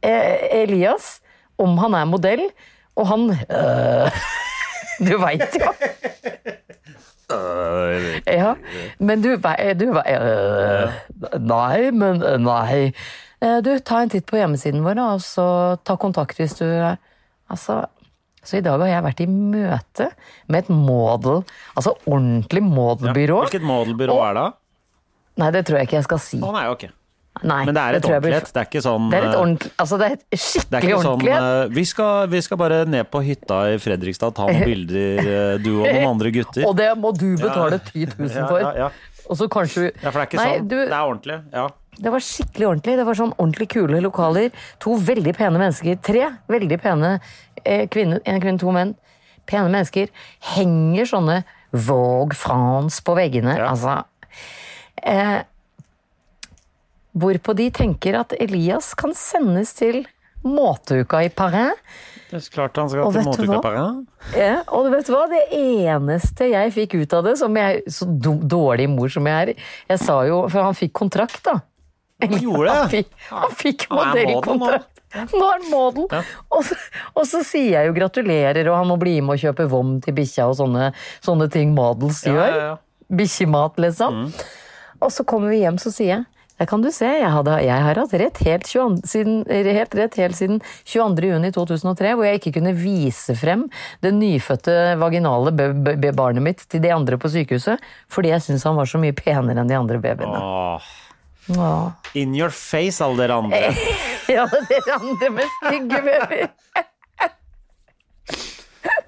S3: eh, Elias om han er modell, og han øh, Du veit jo. Ja, men du, vei- du vei- øh, Nei, men øh, nei. Eh, Du, ta en titt på hjemmesiden vår, da, og så ta kontakt hvis du Altså Så i dag har jeg vært i møte med et model, altså ordentlig modelbyrå.
S2: Hvilket modelbyrå
S3: Og-
S2: er det?
S3: Nei, det tror jeg ikke jeg skal si.
S2: Å, nei, ok.
S3: Nei,
S2: Men det er et
S3: tror jeg blir-
S2: ordentlig et. Det er ikke sånn
S3: Det er et
S2: eh,
S3: ordentlig, altså det er et
S2: Det er
S3: skikkelig
S2: ikke sånn
S3: ordentlig et.
S2: eh, vi, skal, vi skal bare ned på hytta i Fredrikstad, ta noen bilder, eh, du og noen andre gutter.
S3: Og det må du betale 10 000
S2: Ja,
S3: for.
S2: ja, ja.
S3: Og så kanskje
S2: Ja, for det er ikke
S3: Nei,
S2: sånn.
S3: du,
S2: Det er ordentlig. Ja.
S3: det var skikkelig ordentlig. Det var sånn ordentlig kule lokaler. To veldig pene mennesker. Tre veldig pene eh, kvinner. En kvinne, to menn. Pene mennesker. Henger sånne Vogue France på veggene.
S2: Ja.
S3: Altså eh, Hvorpå de tenker at Elias kan sendes til Måteuka i Paris.
S2: Det er så klart han skal
S3: Og
S2: til
S3: vet du hva?
S2: Motorkapparen.
S3: Ja, og vet du hva? Det eneste jeg fikk ut av det, som jeg, så do- dårlig mor som jeg er Jeg sa jo For han fikk kontrakt, da.
S2: Han gjorde
S3: Han
S2: det!
S3: fikk, han fikk
S2: Han er model nå.
S3: modellkontrakt. Nå er han model! Og, så, og så sier jeg jo gratulerer, og han må bli med og kjøpe vom til bikkja og sånne, sånne ting models
S2: Ja,
S3: gjør.
S2: ja, ja.
S3: Bikkjemat, liksom.
S2: Mm.
S3: Og så kommer vi hjem, så sier jeg der kan du se, jeg, hadde, jeg har hatt rett helt, 22, siden, helt rett helt siden 22. juni 2003, hvor jeg ikke kunne vise frem det nyfødte vaginale be- be- be- barnet mitt til de andre på sykehuset, fordi jeg syns han var så mye penere enn de andre babyene.
S2: Åh,
S3: Åh.
S2: in your face, alle dere andre.
S3: Eh. Ja, dere andre med stygge babyer.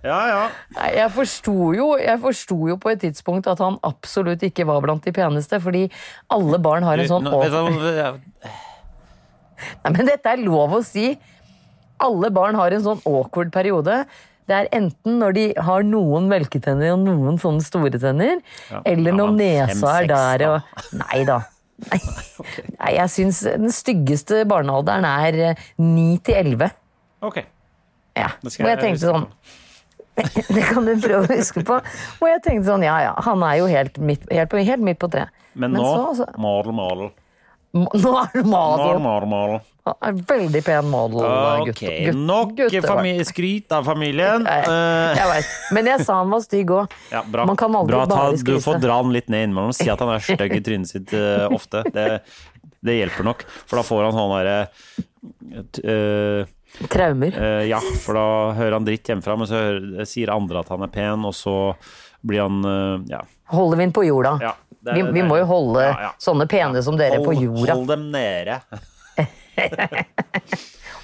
S2: Ja, ja.
S3: Nei, Jeg forsto jo, jeg forsto jo på et tidspunkt at han absolutt ikke var blant de peneste, fordi alle barn har en sånn
S2: Nå- vet du
S3: over...
S2: hva-
S3: Nei, men dette er lov å si. Alle barn har en sånn awkward periode. Det er enten når de har noen melketenner og noen sånne store tenner, eller
S2: ja,
S3: når
S2: men fem,
S3: nesa er
S2: seks,
S3: der
S2: da.
S3: og Nei da. Nei, Nei, jeg syns den styggeste barnealderen er eh, ni til elleve.
S2: Ok.
S3: Ja.
S2: Det
S3: Hvor
S2: skal
S3: jeg
S2: jeg
S3: tenkte
S2: huske
S3: sånn Det kan du prøve å huske på. Hvor jeg tenkte sånn, ja ja, han er jo helt midt, helt på, helt midt på treet.
S2: Men nå
S3: så, altså,
S2: Mal, mal.
S3: Nå er du
S2: Mal,
S3: model.
S2: mal, mal.
S3: Han er veldig pen model. gutt-
S2: Ok,
S3: gutt-
S2: nok
S3: guttevakt.
S2: fami- skryt av familien.
S3: Nei,
S2: Eh,
S3: Jeg vet. Men jeg sa han var stygg òg.
S2: Ja, bra.
S3: Man kan aldri
S2: bra ta,
S3: bare
S2: du får
S3: skryte.
S2: dra han litt ned innimellom. Si at han er stygg i trynet sitt eh, ofte. Det, det hjelper nok. For da får han sånn derre eh,
S3: Traumer.
S2: eh, Ja, for da hører han dritt hjemmefra, men så hører, sier andre at han er pen, og så blir han eh, Ja.
S3: Holder vi den på jorda?
S2: ja det er
S3: Vi, vi
S2: deilig.
S3: må jo holde
S2: Ja, ja.
S3: sånne pene som dere på
S2: Hold-
S3: jorda.
S2: Hold dem nede.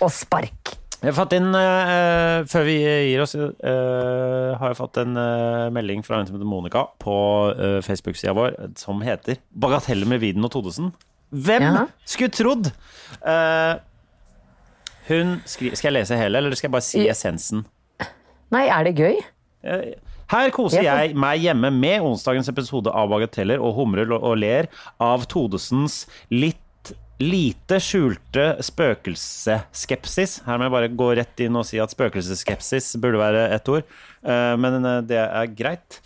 S3: Og spark!
S2: Jeg har fått inn, eh, før vi gir oss, eh, har jeg fått en eh, melding fra en som heter Monica på eh, Facebook-sida vår, som heter 'Bagateller med Viden og Todesen'. Hvem
S3: Jaha.
S2: skulle trodd? Eh, hun skri Skal jeg lese hele, eller skal jeg bare si
S3: Ja.
S2: essensen?
S3: Nei, er det gøy?
S2: Eh, Her koser
S3: Ja, for-
S2: jeg meg hjemme med onsdagens episode av Bagateller og humrer lo- og ler av Todesens litt lite skjulte spøkelsesskepsis. Her må jeg bare gå rett inn og si at spøkelsesskepsis burde være ett ord, eh, men eh, det er greit.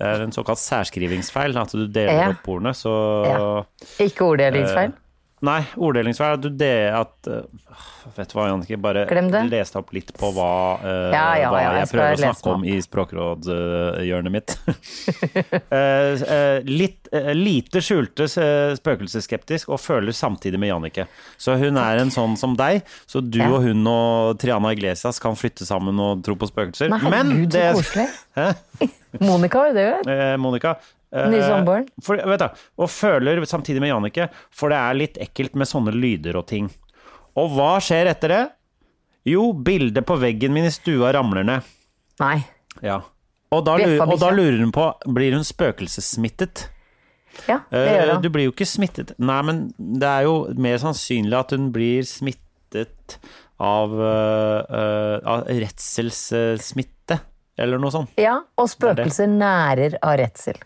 S2: Det er en såkalt særskrivingsfeil, at du deler
S3: Ja.
S2: opp ordene, så
S3: Ja. Ikke orddelingsfeil?
S2: Eh, Nei, orddelingsfeil er at du det at øh, Vet du hva, Jannicke, bare
S3: Glem det.
S2: les deg opp litt på hva, øh,
S3: Ja, ja,
S2: hva
S3: ja, jeg
S2: jeg,
S3: skal
S2: prøver å
S3: lese
S2: snakke om i språkrådhjørnet
S3: meg
S2: mitt. Eh, eh, litt, eh, lite skjulte eh, spøkelsesskeptisk og føler samtidig med Jannicke. Så hun er en sånn som deg, så du
S3: Ja.
S2: og hun og Triana Iglesias kan flytte sammen og tro på spøkelser.
S3: Nei, herregud, så koselig.
S2: Hæ?
S3: Monica var jo det, jo.
S2: eh, Monica. Eh,
S3: Nye samboeren.
S2: for- vet du, og føler samtidig med Jannicke, for det er litt ekkelt med sånne lyder og ting. Og hva skjer etter det? Jo, bildet på veggen min i stua ramler ned.
S3: Nei.
S2: Ja. Og da, lurer,
S3: Bjeffa
S2: og da
S3: bikkja.
S2: lurer hun på blir hun spøkelsessmittet.
S3: Ja, det
S2: Eh,
S3: gjør
S2: Du
S3: han.
S2: blir jo ikke smittet. Nei, men det er jo mer sannsynlig at hun blir smittet av, eh, eh, av redselssmitte, eller noe sånt.
S3: Ja, og spøkelser nærer av redsel.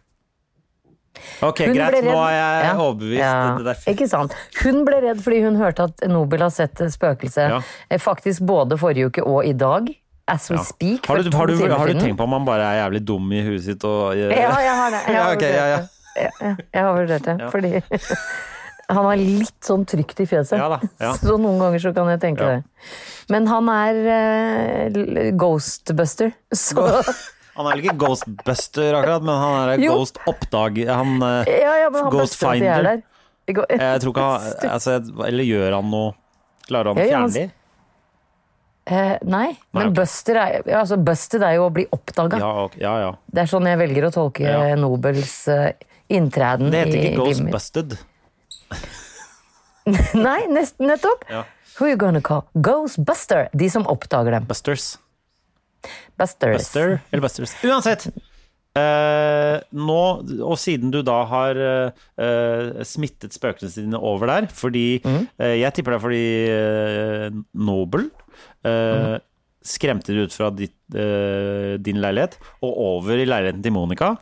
S2: Ok,
S3: Hun
S2: greit,
S3: ble redd-
S2: nå er jeg
S3: Ja,
S2: overbevist.
S3: ja,
S2: Det, det er fint.
S3: Ikke sant. Hun ble redd fordi hun hørte at Nobel har sett spøkelse
S2: Ja.
S3: eh, faktisk både forrige uke og i dag. As we speak.
S2: Har
S3: for
S2: du,
S3: to
S2: har, du,
S3: timer
S2: har du
S3: siden.
S2: tenkt på om man bare er jævlig dum i huet sitt og eh,
S3: Ja, jeg har det. Jeg har
S2: Ja, ok, ja, ja.
S3: vurdert det. Ja, ja, jeg har vurdert det. Fordi han har litt sånn trygt i fjeset.
S2: Ja da, ja.
S3: Så noen ganger så kan jeg tenke
S2: Ja.
S3: det. Men han er eh, l- ghostbuster. Så
S2: Han er vel ikke ghostbuster akkurat, men han er
S3: Jo.
S2: ghost-oppdager... Han eh,
S3: Ja, ja, men han buster at de er
S2: Ghostfinder.
S3: der. Det går-
S2: Jeg tror ikke han altså, Eller gjør han noe Klarer han å
S3: Ja, ja, han-
S2: fjerne de?
S3: Eh, nei, men
S2: ok.
S3: buster er, ja, altså busted er jo å bli oppdaga.
S2: Ja, ok, ja, ja.
S3: Det er sånn jeg velger å tolke
S2: Ja.
S3: Nobels eh, inntreden
S2: Det heter
S3: i
S2: ikke
S3: livet mitt.
S2: Ghostbusted.
S3: Nei, nest, nettopp.
S2: Ja.
S3: Who you gonna call? Ghostbuster. De som oppdager dem.
S2: Busters.
S3: Busters.
S2: Buster eller Busters. Uansett! eh, nå, og siden du da har eh, eh, smittet spøkelsene dine over der Fordi
S3: Mhm.
S2: eh, Jeg tipper det er fordi eh, Nobel eh,
S3: Mhm.
S2: skremte det ut fra ditt, eh, din leilighet og over i leiligheten til Monica.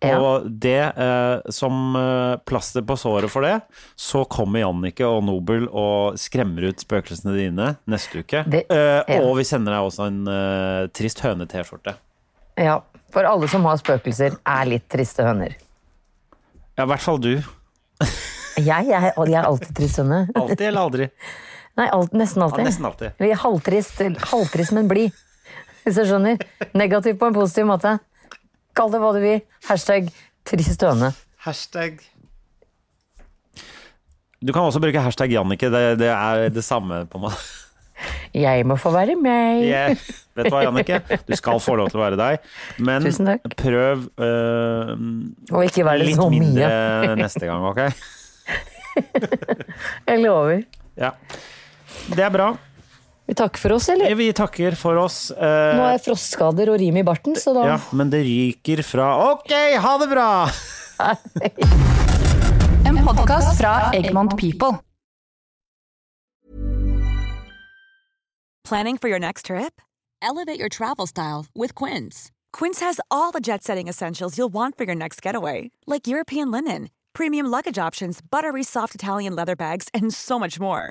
S3: Ja.
S2: Og det eh, som eh, plaster på såret for det, så kommer Jannicke og Nobel og skremmer ut spøkelsene dine neste uke.
S3: Det-
S2: Eh,
S3: ja.
S2: Og vi sender deg også en eh, trist høne-T-skjorte.
S3: Ja, for alle som har spøkelser, er litt triste høner.
S2: Ja, i hvert fall du.
S3: Jeg, jeg, jeg er alltid trist høne.
S2: Alltid eller aldri?
S3: Nei, alt, nesten
S2: Ja,
S3: alltid.
S2: nesten alltid.
S3: Eller halvtrist, halvtrist, men blid. Hvis du skjønner. Negativ på en positiv måte. Kall det hva du vil. Hashtag trist høne.
S2: Hashtag Du kan også bruke hashtag Jannicke. Det, det er det samme på meg.
S3: Jeg må få være meg.
S2: Jeg- Vet du hva, Jannicke? Du skal få lov til å være deg, men
S3: Tusen takk.
S2: prøv eh,
S3: Og ikke være
S2: litt
S3: så
S2: mindre
S3: mye.
S2: neste gang, OK?
S3: Jeg lover.
S2: Ja. Det er bra.
S3: Vi takker for oss, eller?
S2: Vi takker for oss.
S3: Nå
S2: Eh,
S3: er frostskader og rim i barten, så da
S2: ja, men det ryker fra OK, ha det bra!
S5: En podkast fra Egmont People.
S6: Planning for your next trip? Elevate your travel style with Quince. Quince has all the jet setting essentials you'll want for your next getaway, like European linen, premium luggage options, buttery soft Italian leather bags, and so much more.